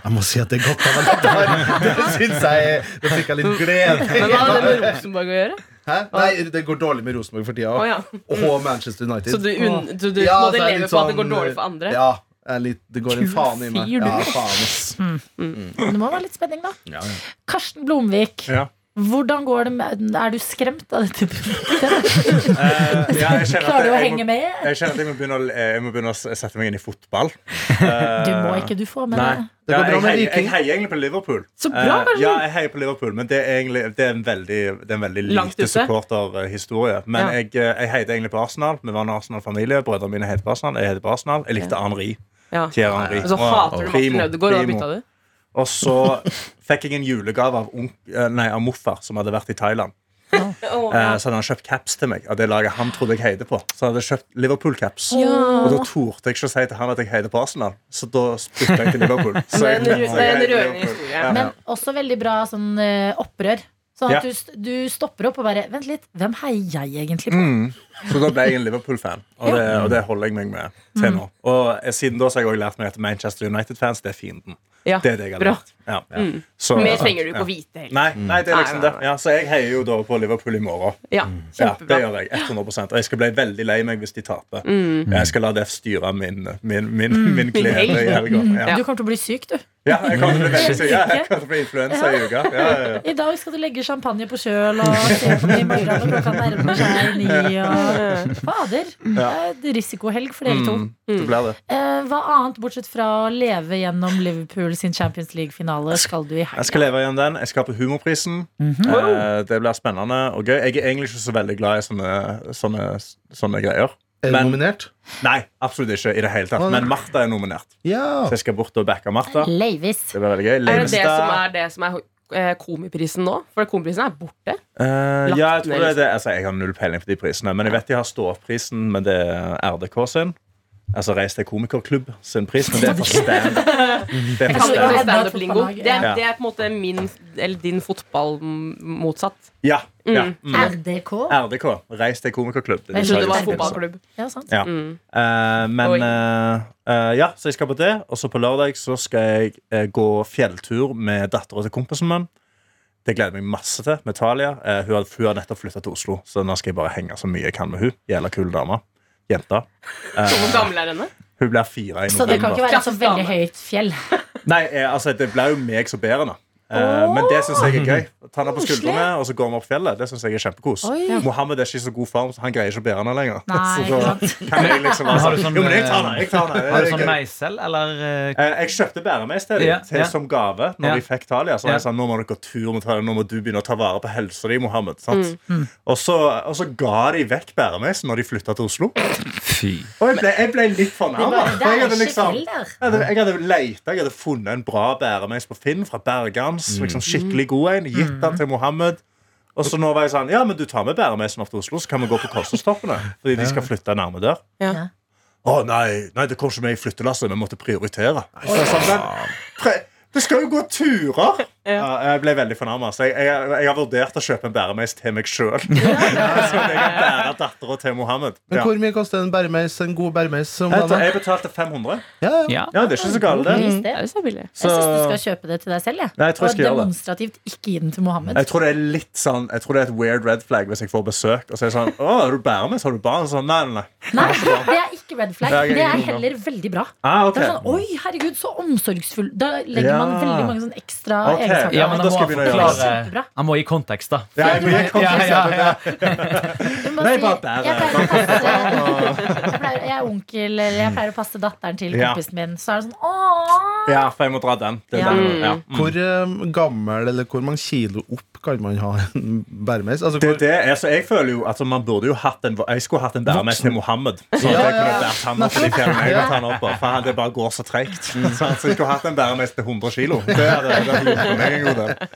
C: Jeg må si at det er godt av dette her! Det syns jeg Det fikk jeg litt glede
D: Men hva hadde det med Rosenborg å gjøre?
C: Hæ? Nei, det går dårlig med Rosenborg for tida.
D: Å, ja.
C: Og Manchester United.
D: Så du, unn, du, du
C: Ja,
D: måtte
C: så er det
D: leve
C: litt
D: på at det
C: sånn,
D: går dårlig for andre?
C: Ja, jeg er litt, det går en
D: Kul
C: faen i meg.
D: fyr, du.
C: Ja, faen, ass.
B: Det må være litt spenning, da.
C: Ja, ja.
B: Karsten Blomvik,
F: Ja.
B: hvordan går det med Er du skremt av
F: <laughs>
B: dette?
F: Eh, ja, jeg kjenner at
B: Klarer du å
F: jeg må-
B: henge med?
F: Jeg kjenner at jeg må begynne å, eh, jeg må begynne å s- sette meg inn i fotball.
B: Du må ikke, du får med
F: Nei.
B: deg
C: Det går
F: Ja,
C: bra
F: jeg,
C: med
F: heier, jeg
C: Viking.
F: heier egentlig på Liverpool.
D: Så bra,
F: Eh,
D: kanskje?
F: ja, jeg heier på Liverpool, men det er, egentlig, det er en veldig, det er en veldig
D: Langt
F: lite
D: ute.
F: supporterhistorie. Men
D: Ja.
F: jeg, eh, jeg heide egentlig på Arsenal. Vi var en Arsenal-familie. Brødrene mine heter på Arsenal. Jeg heter på Arsenal. Jeg likte Henri.
D: Ja.
F: Thierry Henri.
D: Og så hater du Martin
F: Primo,
D: Ødegaard, og da
F: primo.
D: bytta du? <laughs>
F: Og så fikk jeg en julegave av, onk- eh, nei, av morfar, som hadde vært i Thailand.
D: Å,
F: Eh, så hadde han kjøpt caps til meg av det laget han trodde jeg heide på. Så hadde jeg kjøpt Liverpool-caps. Og da torde jeg ikke å si til han at jeg heide på Arsenal, så da bytta jeg til Liverpool.
D: <laughs>
F: Så
D: Det er en
F: jeg-
D: ru- det er en
F: jeg heide
D: rørende
F: Liverpool.
D: historie.
F: Ja.
B: Men også veldig bra sånn eh, opprør. Sånn at
F: Ja.
B: du, st- du stopper opp og bare Vent litt, hvem heier jeg egentlig på?
F: Mm. Så da ble jeg en Liverpool-fan, og, det- og det holder jeg meg med til
D: Mm.
F: nå. Og eh, siden da så har jeg også lært meg at Manchester United-fans, det er fienden.
D: Ja,
F: Det er det jeg har
D: bra. Mm.
F: lært. Ja. Så-
D: Mer trenger du
F: ja.
D: ikke å vite heller.
F: Nei, nei, det er liksom
D: Nei,
F: det.
D: nei, nei.
F: Ja, så jeg heier jo da på Liverpool i morgen.
D: Ja,
F: Mm. Ja, det
D: kjempebra.
F: gjør jeg. 100 Og jeg skal bli veldig lei meg hvis de taper. Jeg skal la det styre min, min, min, min glede i
D: helg.
F: helga. Ja.
B: Du kommer til å bli syk, du.
F: ja, jeg kommer til å bli veldig syk. Ja, jeg kommer til å bli influensa i uka. Ja, ja, ja.
B: I dag skal du legge champagne på kjøl og se på det i morgen når klokka nærmer seg ni.
D: Eh,
B: Og... Fader. Det er et risikohelg for dere to.
F: Mm, det blir det.
B: Eh, hva annet, bortsett fra å leve gjennom Liverpool sin Champions League-finale, skal du i
F: Jeg skal
B: helga?
F: leve igjen den. Jeg skal på Humorprisen. Eh, Det blir spennende og gøy. Jeg er egentlig ikke så veldig glad i sånne, sånne, sånne greier.
C: Er du
F: Men-
C: nominert?
F: Nei, absolutt ikke i det hele
C: Å,
F: tatt.
C: nei.
F: Men Martha er nominert.
C: Ja!
F: Så jeg skal bort og backe Martha.
B: Leivis.
F: Det blir veldig gøy.
D: Er det det
F: Leivestad-
D: som er det som er eh, komiprisen nå? For komiprisen er borte.
F: Eh,
D: Lagt
F: ja, jeg tror
D: ned, liksom.
F: det er det. Altså, jeg har null peiling på de prisene. Men jeg vet de har ståprisen, men det er RDK sin. Altså Reis til komikerklubb sin pris, men det er for stand. Det er
D: Kan
F: for
D: du
B: Ja.
D: ikke
F: stand.
D: stand up lingo? Det, er-
F: Ja.
D: det er på en måte min, eller din fotball m- motsatt.
F: Ja, ja. Mm.
B: RDK.
F: RDK. Reis til komikerklubb. Det er
D: Jeg trodde det var
F: seriøst.
D: fotballklubb.
B: Ja, sant.
F: Ja. Eh, men
D: Oi.
F: eh, eh, ja, så jeg skal på det. Og så på lørdag så skal jeg eh, gå fjelltur med dattera til kompisen min. Det gleder jeg meg masse til. med Talia. Eh, hun, har, hun har nettopp flytta til Oslo, så nå skal jeg bare henge så mye jeg kan med hun Jævla kul dame. Jenta.
D: Så hvor gammel er henne?
F: Hun blir fire i
B: Så det kan ikke
F: november.
B: være et så veldig høyt fjell.
F: Nei, eh, altså, det blir jo meg som bærer henne. Eh, men det syns jeg er gøy. Ta henne på skuldrene, og så går vi opp fjellet. Det synes jeg er kjempekos
B: Oi.
F: Mohammed er ikke i så god form, så han greier ikke å bære henne lenger.
B: Nei,
F: <laughs> så da kan jeg liksom
E: Men
F: være
E: har du
F: sånn
E: sånn,
F: Jo, men jeg tar henne! Jeg tar henne.
E: Har du
F: Det er
E: sånn
F: gøy.
E: meisel, eller eh,
F: Eh, Jeg kjøpte bæremeis til dem
E: Ja,
F: til-
E: ja.
F: som gave Når
E: Ja.
F: de fikk Thalia. Så var jeg
E: Ja.
F: sånn, nå må dere gå tur med Thalia, nå må du begynne å ta vare på helsa di, Mohammed. Sant?
B: Mm.
F: Og, så, og så ga de vekk bæremeisen når de flytta til Oslo.
E: Fy.
F: Og jeg ble, jeg ble litt fornærma.
B: Det er
F: Jeg hadde
B: ikke
F: liksom
B: fjell der.
F: jeg hadde, jeg hadde leita, jeg hadde funnet en bra bæremeis på Finn fra Bergans. Liksom skikkelig god en, Gitt den til Mohammed. Og så nå var jeg sånn Ja, men du tar med bæremeisen opp til Oslo, så kan vi gå på Kolsåstoppene. Fordi de skal flytte nærme der.
D: Ja.
F: Å nei, nei, det kom ikke med i flyttelasset. Vi måtte prioritere. Så jeg sa, «Men, pre det skal jo gå turer! Ja, jeg ble veldig fornærma. Så jeg, jeg, jeg har vurdert å kjøpe en bæremeis til meg sjøl. <laughs> Sånn at jeg kan bære dattera til Mohammed.
C: Men
F: Ja.
C: hvor mye koster en bæremeis, en god bæremeis? om
F: Jeg tror
C: dagen?
F: jeg betalte 500.
C: Ja, ja.
E: Ja.
F: Ja, det er ikke så galt, det.
B: Pris, det.
D: Mm. Det er jo så billig.
B: Jeg syns du skal kjøpe det til deg selv.
F: Nei, jeg tror
B: og
F: jeg skal gjøre det.
B: demonstrativt ikke gi den til Mohammed.
F: Jeg tror det er litt sånn Jeg tror det er et weird red flag hvis jeg får besøk. Og så er det sånn <laughs> Å, er du bæremeis? Har du barn? Sånn, nei, nei, nei. <laughs>
B: Nei, det er ikke red flag.
F: Det er ikke
B: Det er
F: god
B: heller veldig bra.
F: Ah, ok.
B: Det er sånn, Oi, herregud, så omsorgsfull. Da legger
F: Ja.
B: man veldig mange sånne ekstra
F: Ok.
B: egenskaper.
E: Ja, men
F: da
E: han må,
F: skal jeg begynne å
B: gjøre det.
E: forklare,
B: Kjempebra.
E: han må gi kontekst, da.
F: Det er mye
E: Ja,
F: kontekst.
E: ja, ja.
B: Du må
F: Nei,
B: si,
F: bare bære.
B: Jeg pleier å
F: <laughs>
B: passe jeg, pleier, jeg er onkel, eller jeg pleier å passe datteren til
F: Ja.
B: kompisen min. Så er det sånn åh
F: Ja, for jeg må dra den. Det er
B: Ja. Mm.
F: den. Ja. Mm.
C: Hvor eh, gammel eller hvor mange kilo opp kan man ha en bæremeis? Altså,
F: Det
C: hvor,
F: er det. Altså, jeg føler jo altså, man burde jo hatt en Jeg skulle hatt en bæremeis til Mohammed. Så
C: Ja,
F: at jeg
C: ja.
F: kunne bært han opp i de fjellene jeg har tatt han opp av, For han, det bare går så treigt. Så altså, jeg skulle hatt en bæremeis til 100 kilo. Det hadde det hadde hjulpet meg en god del.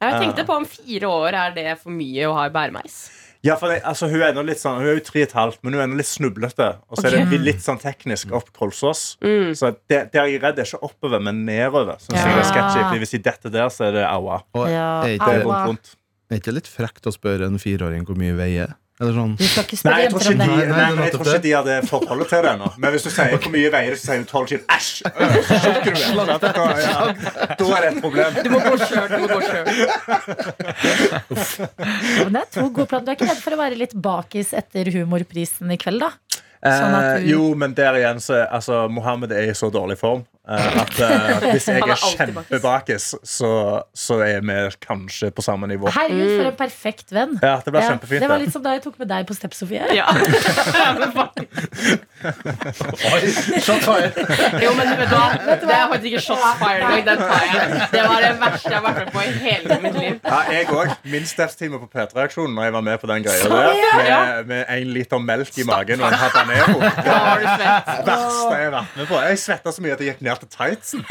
D: Jeg tenkte på om fire år er det for mye å ha i bæremeis.
F: Ja, for det, altså, hun er ennå litt sånn Hun er jo tre og et halvt, men hun er ennå litt snublete. Og så er det litt sånn
C: Mm.
F: teknisk opp Kolsås. Så det, det er jeg redd det er ikke oppover, men nedover. Synes jeg det er sketchy, fordi Hvis de detter der, så er det aua.
C: og,
B: Ja,
C: er,
F: Det
C: ikke,
F: er vondt, vondt.
C: er ikke litt frekt å spørre en fireåring hvor mye veier? Eller sånn.
B: Du skal ikke
F: Nei,
B: spørre
F: jeg tror
B: jenter
F: ikke
B: om det.
C: det
F: de, nei,
C: er
F: men jeg
C: nettopp
F: tror
C: det.
F: ikke de hadde forholdet til det ennå. Men hvis du sier hvor mye veier, så sier hun 12 kilo. Æsj! øh, Slukker du det? Da- Da ja, da er det et problem.
D: Du må gå sjøl, du må gå sjøl.
B: Ja, men det er to gode planer. Du er ikke redd for å være litt bakis etter humorprisen i kveld, da? Sånn at du-
F: Eh, jo, men der igjen så altså, Mohammed er i så dårlig form eh,
B: <laughs>
F: at eh, hvis jeg
D: Han er
F: er
D: alltid
F: kjempebakis, så, så er vi kanskje på samme nivå.
B: Herregud, for en perfekt venn.
F: Ja, det blir
B: Ja,
F: kjempefint.
B: det var
F: det.
B: litt som da jeg tok med deg på Step Sofie.
D: <laughs> Ja. Men faen. Jo, men vet du hva? Det er faktisk ikke shots fired engang. Den tar jeg. Det var det verste jeg har vært med på i hele mitt liv.
F: Ja, jeg òg. Min stepstime på P3-aksjonen Når jeg var med på den greia
D: ja.
F: der. Med, med en liter melk i magen og en
B: <laughs>
F: habanero.
D: Da var du svett.
F: Det verste jeg har vært med på. Jeg svetta så mye at jeg gikk ned til tightsen.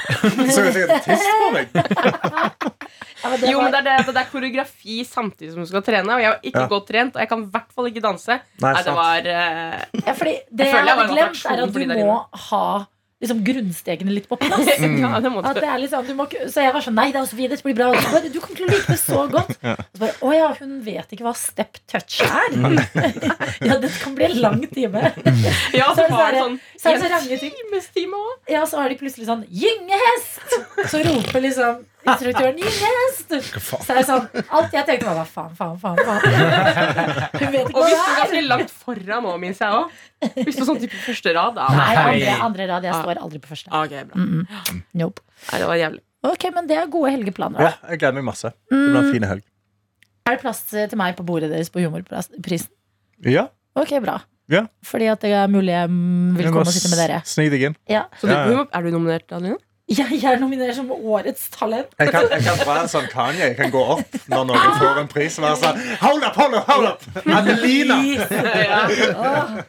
F: Så jeg hadde tiss på meg.
B: Ja, men det
D: <laughs> Jo, men
B: var-
D: det er, det, at det er koreografi samtidig som du skal trene. Og jeg var ikke
F: Ja.
D: godt trent, og jeg kan i hvert fall ikke danse. Nei, det
F: sant.
D: var eh, <laughs>
B: Ja, fordi det jeg
D: føler jeg
B: hadde
D: var en
B: glemt,
D: attraksjon
B: er at
D: for de
B: du
D: der
B: må ha liksom grunnstegene litt på plass.
F: Mm.
D: Ja, det må
B: At
D: du.
B: det er litt sånn, du må, ikke- så jeg var sånn Nei, det er Sofie, dette blir bra. Og så bare, du kommer til å like det så godt. Og så bare, Å ja, hun vet ikke hva step touch er. <laughs> ja, dette kan bli en lang time.
D: Ja,
B: Så er
D: så
B: det
D: var det
B: sånn-
D: sånn
B: Så er det så range ting.
D: timestime også.
B: Ja, så har de plutselig sånn Gyngehest! Så roper liksom instruktøren 'gyngehest'! Så er det sånn Alt jeg tenkte, var hva faen, faen, faen. faen. Hun vet ikke hva
D: Og
B: det
D: vi sto
B: er.
D: ganske langt foran nå, minnes jeg òg. Vi sto sånn type første rad. Da.
B: Nei, andre, andre rad. Jeg står aldri på første.
D: Ok, bra.
B: Nope.
D: Nei, det var jævlig.
B: Ok, men det er gode helgeplaner.
F: Ja,
B: da.
F: jeg gleder meg masse. Det blir
B: Mm.
F: en fin helg.
B: Er det plass til meg på bordet deres på Humorprisen?
F: Ja,
B: Ok, bra.
F: Ja.
B: Fordi at det er mulig jeg mm, vil
F: jeg
B: komme
F: må
B: og sitte med dere. <laughs>
F: s- Snik deg inn.
D: Så du,
F: Ja, ja.
D: er du nominert, Adeline?
B: Jeg er nominert som årets talent.
F: Jeg kan, jeg kan være sånn Kanye. Jeg kan gå opp når noen får en pris og være sånn Hold up, hold up, hold up! Adelina!
B: Åh.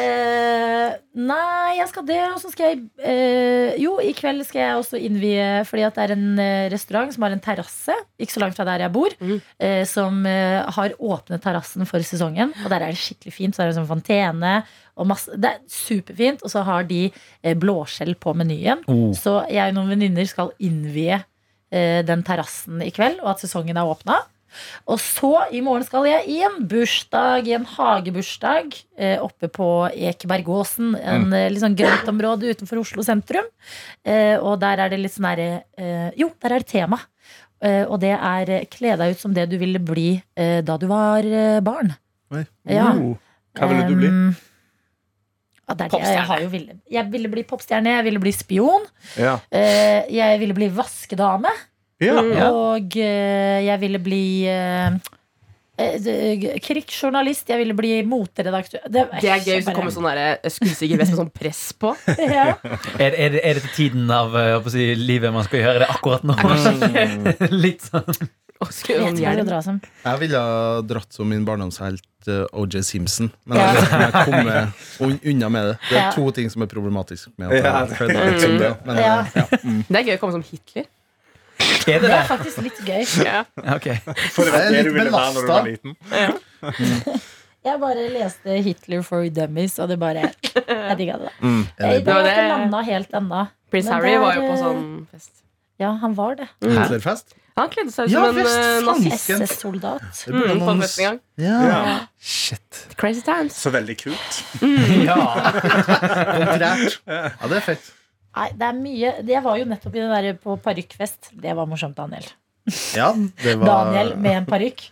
B: Eh, nei, jeg skal det, og så skal jeg eh, Jo, i kveld skal jeg også innvie Fordi at det er en eh, restaurant som har en terrasse, ikke så langt fra der jeg bor,
D: Mm.
B: eh, som eh, har åpnet terrassen for sesongen. Og der er det skikkelig fint. Så er det sånn fontene og masse Det er superfint. Og så har de eh, blåskjell på menyen.
E: Oh.
B: Så jeg og noen venninner skal innvie eh, den terrassen i kveld, og at sesongen er åpna. Og så i morgen skal jeg i en bursdag, i en hagebursdag, eh, oppe på Ekebergåsen. En
F: Mm.
B: eh, litt sånn grøntområde utenfor Oslo sentrum. Eh, og der er det litt sånn derre eh, Jo, der er det tema. Eh, og det er eh, kle deg ut som det du ville bli eh, da du var eh, barn.
C: Oi.
B: Ja.
F: Oh, Hva ville du
D: Um,
F: bli?
B: Em, ja, det er det. Jeg,
D: Popstjerne.
B: har jo ville. jeg ville bli popstjerne, jeg ville bli spion.
F: Ja.
B: Eh, jeg ville bli vaskedame.
F: Ja.
D: Mm.
B: Og eh, jeg ville bli eh, eh, d- krigsjournalist. Jeg ville bli moteredaktør.
D: Det er gøy hvis det kommer sånn der, eh, skuddsikker vest med sånn press på. <laughs>
B: ja.
E: Er, er, det- er dette tiden av eh, å si, livet man skal gjøre det akkurat nå? <laughs> Litt sånn
D: Og
B: Jeg
D: skulle
B: vet ikke
D: sånn
B: hvor å
D: hjelm.
B: dra som.
C: Jeg ville ha dratt som min barndomshelt eh, OJ Simpson. Men
B: Ja.
C: jeg vet ikke om jeg kommer un- unna med det. Det
B: Ja.
C: er to ting som er problematisk med at jeg
F: Ja.
C: er født litt som det. Men,
B: Ja.
C: eh, ja.
D: Det er gøy å komme som Hitler.
E: Er det
B: Det
E: det?
B: er faktisk litt gøy.
D: Ja.
E: Ok.
F: For det var
C: Jeg er
F: det du
C: litt
F: ville være når
C: belastet.
F: du var liten.
B: Jeg bare leste 'Hitler for Dummies', og det bare Jeg digga det. da. Jeg, det
D: Det var
B: har ikke
D: det-
B: landa helt ennå.
D: Prins
B: Men
D: Harry
B: der,
D: var jo på
B: eh,
D: sånn fest.
B: Ja, han var det.
C: Hitlerfest?
D: Han kledde seg ut
C: Ja,
D: som en
C: visst,
D: eh,
C: faen.
D: nazist.
C: Fisken.
B: SS-soldat.
C: Det burde
D: Mm, på
C: noen
D: en
C: s-
D: fest en gang.
C: Ja.
F: Ja.
C: Shit.
D: Crazy times.
F: Så veldig kult.
E: Ja.
C: Kontrært. Ja, det er fett.
B: Nei, det er mye. Jeg var jo nettopp i den der på parykkfest. Det var morsomt, Daniel.
C: Ja, det var
B: Daniel med en parykk.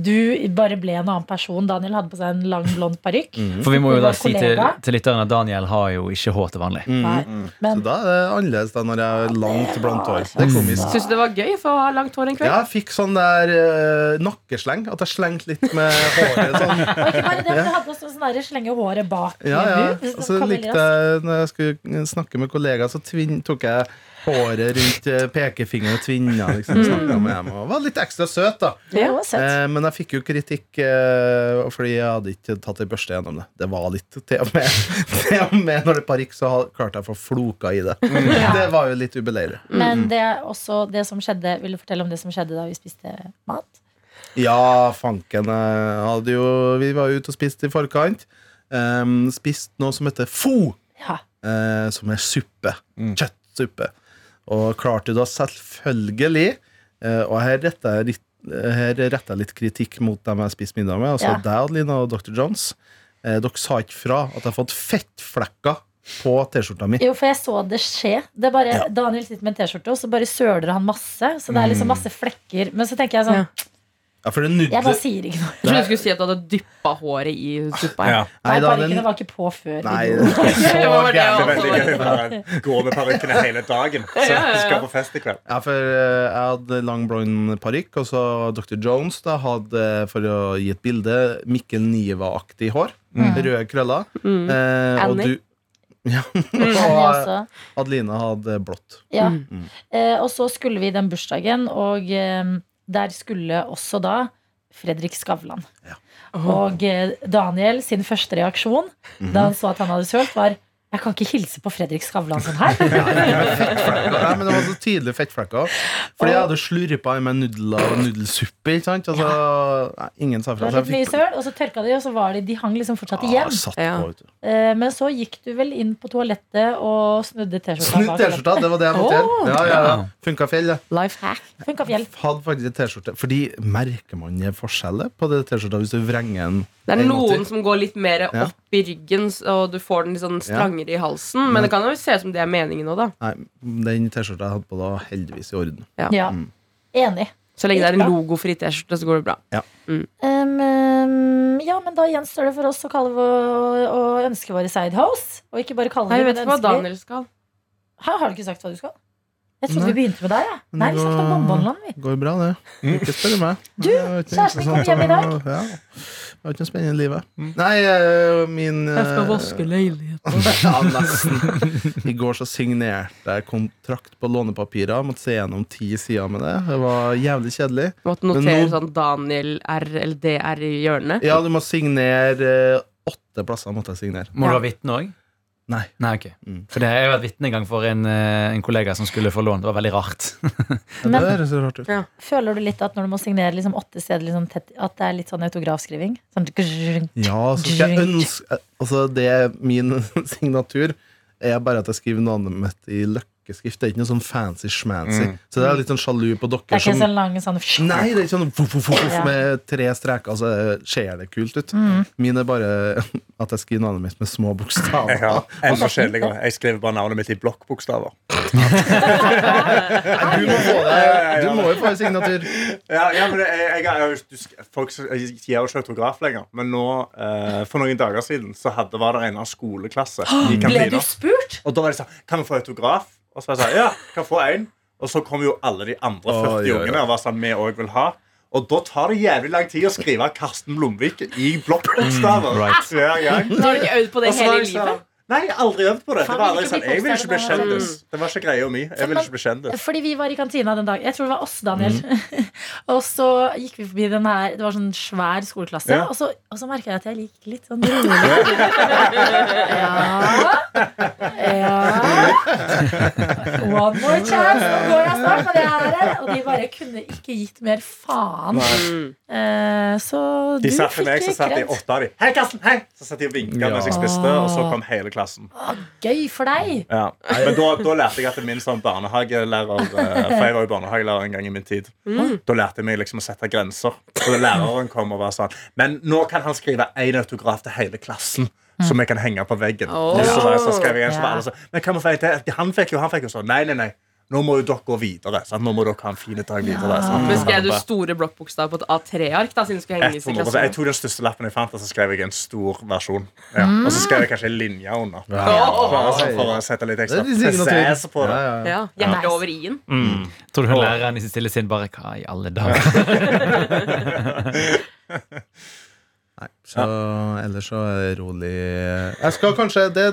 B: Du bare ble en annen person. Daniel hadde på seg en lang, blond parykk.
E: For vi må jo da si til,
B: Kollega.
E: til lytterne at Daniel har jo ikke hår til vanlig.
B: Nei,
C: Så
B: Men
C: da er det annerledes da når jeg er langt blant hår. Det er komisk.
D: Syns du det var gøy for å ha langt hår en kveld?
C: Ja, jeg fikk sånn der eh, nakkesleng. At jeg slengte litt med håret sånn.
B: og ikke bare det, men du hadde også sånn derre slenge håret bak.
C: Ja, ja.
B: i bu, hvis
C: Og
B: det
C: så
B: kommer
C: likte
B: raskt.
C: jeg når jeg skulle snakke med kollegaer, så tvinn, tok jeg håret rundt eh, pekefingeren og tvinna. Liksom, snakket med dem, og var litt ekstra søt, da.
B: Ja, det var søtt.
C: Eh, men jeg fikk jo kritikk eh, fordi jeg hadde ikke tatt ei børste gjennom det. Det var litt Til og med, <laughs> til og med når det er parykk, så har- klarte jeg å få floka i det. Det var jo litt ubeleilig.
B: Men det er også det som skjedde Vil du fortelle om det som skjedde da vi spiste mat?
C: Ja, fanken. Jeg hadde jo, vi var jo ute og spiste i forkant. Ehm, spist noe som heter fo,
B: Ja.
C: eh, som er suppe. Kjøttsuppe. Og klarte da selvfølgelig eh, Og her retta jeg litt, her retta jeg litt kritikk mot dem jeg spiste middag med, altså
B: Ja.
C: deg, Adelina, og Dr. Johns. Eh, dere sa ikke fra at jeg har fått fettflekker på T-skjorta mi.
B: Jo, for jeg så det skje. Det er bare, Daniel sitter med en T-skjorte, og så bare søler han masse. Så det er
C: Mm.
B: liksom masse flekker. Men så tenker jeg sånn
D: Ja.
C: Ja, for det nudler
B: Jeg bare sier ikke noe.
D: Jeg trodde du skulle si at du hadde dyppa håret i suppa.
F: Ja.
B: Nei,
C: Nei, da, den-
B: parykkene var ikke på før.
C: Nei,
B: idiot.
C: det er
D: <laughs> Det
C: så
B: <laughs>
D: var det
C: gærent.
F: Det er veldig gøy å bare gå med parykkene hele dagen. Så
D: Ja, ja, ja.
F: du skal på fest i kveld.
C: Ja, for eh, jeg hadde lang blond parykk, og så Dr. Jones da hadde, for å gi et bilde, Mikkel Niva-aktig hår. Røde krøller. Eh, og
D: Annie.
C: du ja.
B: Men jeg
C: og
B: også.
C: Adelina hadde blått.
B: Ja. Eh, og så skulle vi den bursdagen, og eh, der skulle også da Fredrik Skavlan. Og eh, Daniel sin første reaksjon da han så at han hadde sølt, var Jeg kan ikke hilse på Fredrik Skavlan sånn her.
C: Nei, men det var så tydelige fettflekker. Fordi jeg hadde slurpa i meg nudler og nudelsuppe. Ikke sant? Altså, nei, ingen sa
B: Det
C: fra.
B: var litt mye søl, og så tørka de, og så var de, de hang liksom fortsatt igjen.
C: Ah, satt
D: Ja.
C: på, vet du.
B: Eh, Men så gikk du vel inn på toalettet og snudde T-skjorta.
C: Snudd
B: bak.
C: T-skjorta, det var det jeg måtte
D: Åh.
C: gjøre. Ja, ja, ja. Funka fjell, det.
D: Life hack.
B: Funka fjell.
C: Hadde faktisk T-skjorte. Fordi merker man forskjellet på det T-skjorta hvis du vrenger den?
D: Det er
C: en
D: noen
C: åtter?
D: som går litt mer
C: Ja.
D: opp i ryggen, s- og du får den litt sånn strangere i halsen. Men
C: Men-
D: det kan jo se ut som det er meningen nå, da.
C: Nei, den T-skjorta jeg hadde på da, var heldigvis i orden.
B: Ja. Enig.
D: Så lenge det er en
B: Bra.
D: logofri T-skjorte, så går det bra.
B: Um, um, ja, men da gjenstår det for oss å kalle vår, å ønske våre sidehouse. Og ikke bare kalle
D: Nei,
B: det,
D: jeg
B: men
D: vet ikke hva
B: ønske de.
D: Daniel skal.
B: Hæ, har du ikke sagt hva du skal? Jeg trodde
C: Nei.
B: vi begynte med deg. Ja. Nei, vi snakket om bonbonland. vi.
C: Går bra, det. Ikke spør meg.
B: Du,
C: Jeg har ikke noe
B: kjæresten kom
C: sånt
B: hjem i dag.
C: som- Ja. Jeg har ikke noe spennende i livet. Nei, øh, min øh,
D: leiligheten.
C: <laughs> Ja, nesten. I går så signerte jeg kontrakt på lånepapirer. Måtte se gjennom ti sider med det. Det var jævlig kjedelig.
D: Måtte
C: Men
D: notere
C: nå-
D: sånn Daniel R eller DR i hjørnet.
C: Ja, du må signere øh, åtte plasser. måtte jeg signere
E: Må du ha vitne òg?
C: Nei.
E: Nei, ok.
C: Mm.
E: For det, jeg har vært vitne en gang for en, eh, en kollega som skulle få lån. Det var veldig rart. <laughs>
C: Ja,
B: Men-
C: det høres så rart ut.
B: Føler du litt at når du må signere liksom åtte steder, liksom tett, at det er litt sånn autografskriving? Sånn, grrrr. <laughs>
C: Ja, så skal jeg ønske Altså, det er min <laughs> signatur er bare at jeg skriver navnet mitt i løkkeskrift. Det er ikke noe sånn fancy-schmancy.
F: Mm.
C: Så det er litt sånn sjalu på
B: det er
C: dere
B: ikke
C: som
B: en sånn lang sånn
C: Nei, det er ikke sånn fuff, fuff, fuff,
B: Ja. Mm.
C: med tre streker, så ser det kult ut. Min er bare <laughs> at jeg skriver navnet mitt med små bokstaver.
F: Jeg har enda kjedeligere. Jeg skriver bare navnet mitt i blokkbokstaver.
C: Du må få deg- du må jo få en signatur.
F: Ja, ja, men jeg, jeg, har jo- du sk- folk s- gir jo ikke autograf lenger. Men nå, eh, for noen dager siden så hadde, var det en av skoleklasse i
D: Ble du
F: kantina.
D: spurt?
F: Og da var det sånn Kan vi få autograf? Og så var jeg sånn, ja, kan få en Og så kom jo alle de andre 40
C: Oi, oi, oi.
F: ungene og var sånn, vi òg vil ha. Og da tar det jævlig lang tid å skrive Karsten Blomvik i blokkbokstaver.
E: right.
F: hver gang.
D: Da har du ikke øvd på det
F: Og så var
D: hele
F: jeg sånn,
D: livet.
F: Nei, jeg har aldri øvd på det. Det
B: Faen,
F: var aldri
B: hvilke
F: sånn, Jeg vil ikke bli
B: blokkbokstaver
D: var det?
F: kjendis. Det var ikke greia mi. Jeg vil ikke bli kjendis. Mm.
B: Fordi vi var i kantina den dagen. Jeg tror det var oss, Daniel. <laughs> og så gikk vi forbi den her Det var sånn svær skoleklasse.
F: Ja.
B: Og så, og så merka jeg at jeg liker litt sånn rolig. ja. ja. One more chance, nå går jeg snart, men jeg er her. Og de bare kunne ikke gitt mer faen. Eh, så du
F: De satt med meg, så
B: fikk
F: satt de
B: kred.
F: åtte av dem. Hei, Karsten, hei! Så satt de og vinka
C: Ja.
F: mens jeg spiste, og så kom hele klassen.
B: Gøy for deg.
F: Ja. Men da, da lærte jeg at min sånn barnehagelærer eh, For jeg var jo barnehagelærer en gang i min tid.
D: Mm.
F: Da lærte jeg meg liksom å sette grenser. Og læreren kom og var sånn Men nå kan han skrive én autograf til hele klassen. Som vi kan henge på veggen.
D: Åh.
F: Og så var jeg så skrev jeg igjen, så var
B: Ja.
F: alle sånn Men hva må vi få en til? Han fikk jo, han fikk jo sånn. Nei, nei, nei. Nå må jo dere gå videre. Sant? Nå må dere ha en fin dag videre. sant?
D: Men skrev sånn- du store blokkbokstaver på et A3-ark, da, siden du skulle henges i
F: 100%. Jeg
D: klassen?
F: tok den største lappen jeg fant, og så skrev jeg en stor versjon. Ja. Og så skrev jeg kanskje en linje under. Bare sånn for å sette litt
C: Det
F: ekstra
C: er din signatur.
F: presens på det.
C: Ja, ja.
D: Ja, Hjertet over i-en.
E: Tror du hun læreren i sitt stille sinn bare Hva i alle dager?
C: Så ellers så er det rolig Jeg skal kanskje det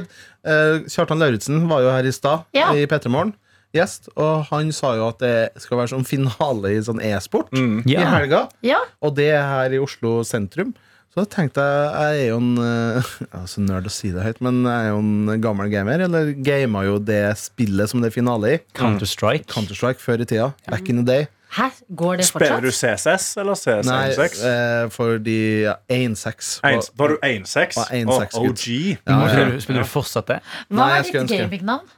C: eh, Kjartan Lauritzen var jo her i stad,
B: Ja.
C: i P3 Morgen. Gjest, og han sa jo at det skal være sånn finale i sånn e-sport i
E: <laughs> Ja.
C: helga.
B: Ja.
C: Og det er her i Oslo sentrum. Så da tenkte jeg Jeg er jo en eh, <laughs> Jeg er så nerd å si det høyt, men jeg er jo en gammel gamer. Eller gama jo det spillet som det er finale i.
E: Counter-Strike.
C: Counter-Strike før i tida. Back in the day.
B: Hæ? Går det
F: Spiller du
B: fortsatt?
F: CSS eller
C: Nei,
F: CS16?
C: eh, fordi ja, 1-6.
F: Var var du 1.6?
C: Var 1.6
F: Og
C: gutt.
F: OG?
E: Må- Spiller du- spiller du fortsatt det?
B: Hva
C: Nei,
B: er
C: jeg
B: ditt
C: skulle ønske.
B: gamingnavn?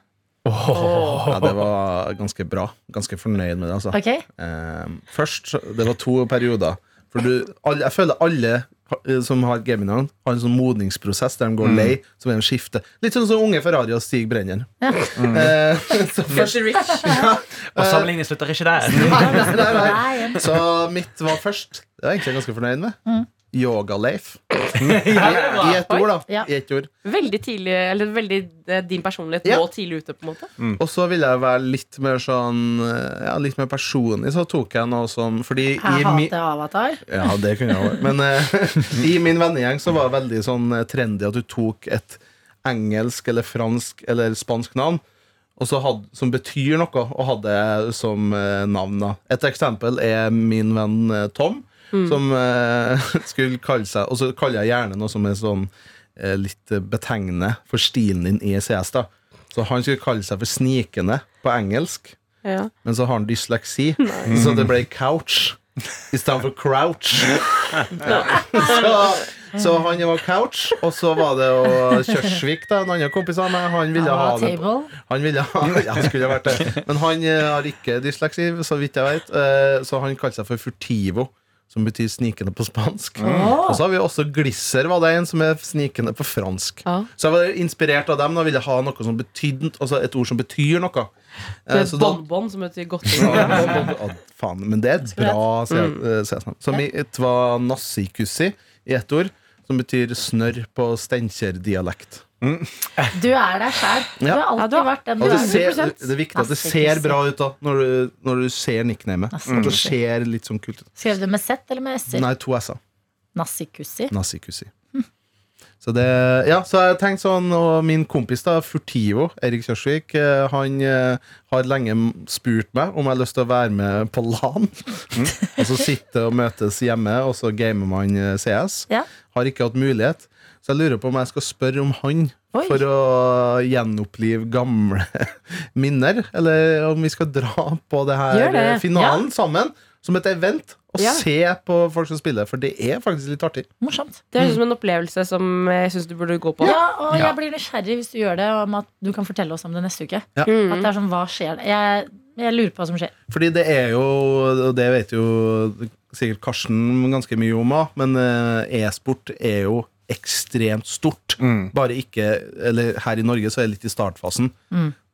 C: Ja, det var ganske bra. Ganske fornøyd med det, altså.
B: Ok.
C: Eh, først, så- det var to perioder. For du, alle, jeg føler alle ha- som har gamingnavn, har en sånn modningsprosess der de går lei, så vil de skifte. Litt sånn som unge Ferrari og Stig Brenner. Eh, så, først,
D: Get rich.
E: Og sammenligningen slutter ikke der.
C: nei, nei, nei.
B: Nei, en
C: <laughs> så mitt var først. Det var jeg egentlig ganske fornøyd med.
B: Mm.
C: Yoga-Leif.
B: <laughs>
C: I, I ett ord, da.
B: Ja.
C: I ett ord.
D: Veldig tidlig, eller veldig eh, din personlighet
C: Ja.
D: nå tidlig ute, på en måte.
C: Og så ville jeg være litt mer sånn eh, Ja, litt mer personlig, så tok jeg noe som Fordi i
B: Jeg
C: mi,
B: hater avatar.
C: Ja, det kunne jeg også Men eh, i min vennegjeng så var det veldig sånn eh, trendy at du tok et engelsk eller fransk eller spansk navn og så hadde, som betyr noe, og hadde det som eh, navn. da. Et eksempel er min <laughs> venn eh, Tom, som eh, skulle kalle seg Og så kaller jeg gjerne noe som er sånn eh, litt eh, betegnende for stilen din i CS. da Så han skulle kalle seg for Snikende på engelsk,
D: Ja.
C: men så har han dysleksi, så det ble couch. Istedenfor crouch. <laughs> Så, så han var couch, og så var det jo Kjørsvik, da, en annen kompis av meg. Han
B: Ah,
C: ville ha det på
B: table.
C: han ville ha ja, <laughs> han skulle ha vært det. Men han eh, har ikke dysleksi, så vidt jeg vet. eh, Så han kaller seg for furtivo, som betyr snikende på spansk. Og så har vi også glisser, var det en som er snikende på fransk.
D: Ja.
C: Så jeg var inspirert av dem og ville ha noe som betydde, altså et ord som betyr noe. Eh,
D: Det
C: så
D: er
C: da-
D: bonbon som betyr
C: Ja,
D: godteri.
C: <laughs> ja, ja, ja, faen, men det er et bra CS-navn. Som i et var nassikussi i ett ord, som betyr snørr på steinkjer-dialekt.
B: Du er deg sjæl. Du
C: Ja.
B: har
D: Ja,
B: alltid
D: du har-
B: vært den du
C: Og det,
B: er.
C: ser, det er viktig at det ser
B: Nazi-kussi.
C: bra ut da når du, når du ser nicknamet. At det
B: Nazi-kussi.
C: ser litt sånn kult ut.
B: Skrev du med Z eller med S-er?
C: Nei, to s-er.
B: Nassikussi.
C: Nazikussi. Så det Ja, så jeg tenkte sånn, og min kompis da, Furtivo, Erik Kjørsvik, eh, han eh, har lenge m- spurt meg om jeg har lyst til å være med på LAN.
B: Mm.
C: <laughs> og så sitte og møtes hjemme, og så gamer man eh, CS.
B: Ja.
C: Har ikke hatt mulighet. Så jeg lurer på om jeg skal spørre om han
B: Oi.
C: for å gjenopplive gamle <laughs> minner. Eller om vi skal dra på det her
B: Gjør det,
C: eh, finalen sammen, som et event, og
D: Ja.
C: se på folk som spiller. For det er faktisk litt artig.
B: Morsomt.
D: Det høres ut som en opplevelse som jeg syns du burde gå på.
B: Ja, og jeg blir nysgjerrig hvis du gjør det, om at du kan fortelle oss om det neste uke.
C: Ja.
B: At det er sånn, hva skjer jeg, jeg lurer på hva som skjer.
C: Fordi det er jo, og det vet jo sikkert Karsten ganske mye om òg, men eh, e-sport er jo ekstremt stort. Bare ikke Eller her i Norge så er det litt i startfasen.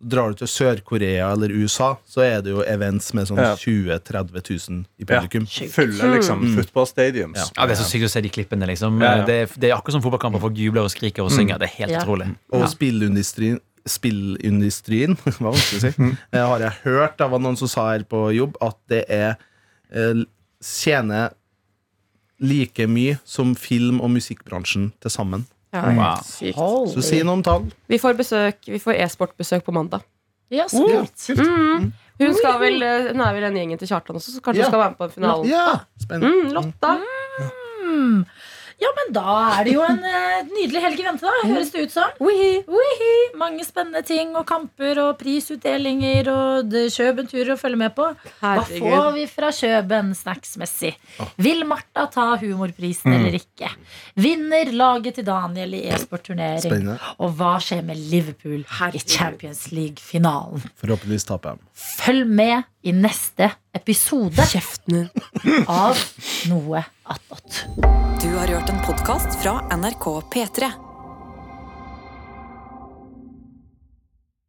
C: Drar du til Sør-Korea eller USA, så er det jo events med sånn
F: Ja.
C: 20 000-30 000 i publikum.
F: Fylle liksom football stadiums.
C: Ja.
E: Ja, Det er så sykt å se de klippene. liksom
F: Ja, ja.
E: Det, er, det er akkurat som fotballkamper. Folk jubler og skriker og synger. Det er helt
B: Ja.
E: utrolig.
C: Og spillindustrien Spillindustrien <laughs> det var vanskelig å si, eh, har jeg hørt Det var noen som sa her på jobb at det er eh, tjener like mye som film- og musikkbransjen til sammen.
D: Ja,
E: Wow.
D: sykt.
C: Så si noe om tall.
D: Vi får besøk, vi får e-sportbesøk på mandag.
B: Ja, så kult.
D: Hun skal vel, eh, hun er vel denne gjengen til Kjartan også, så kanskje
C: Ja.
D: hun skal være med på finalen.
C: Ja, spennende.
D: Mm, Lotta.
B: Hmm. Ja, men da er det jo en eh, nydelig helg i vente, da.
C: Mm.
B: Høres det ut som. Wihi. Mange spennende ting og kamper og prisutdelinger og det- Kjøben-turer å følge med på. Hva får
D: Herregud.
B: vi fra Kjøben snacksmessig? Vil Martha ta humorprisen eller ikke? Vinner laget til Daniel i e-sportturnering?
C: Spennende.
B: Og hva skjer med Liverpool i Champions League-finalen?
C: Forhåpentligvis taper jeg.
B: Følg med i neste episode
D: Kjeften.
B: av Noe attåt.
A: Du har hørt en podkast fra NRK P3.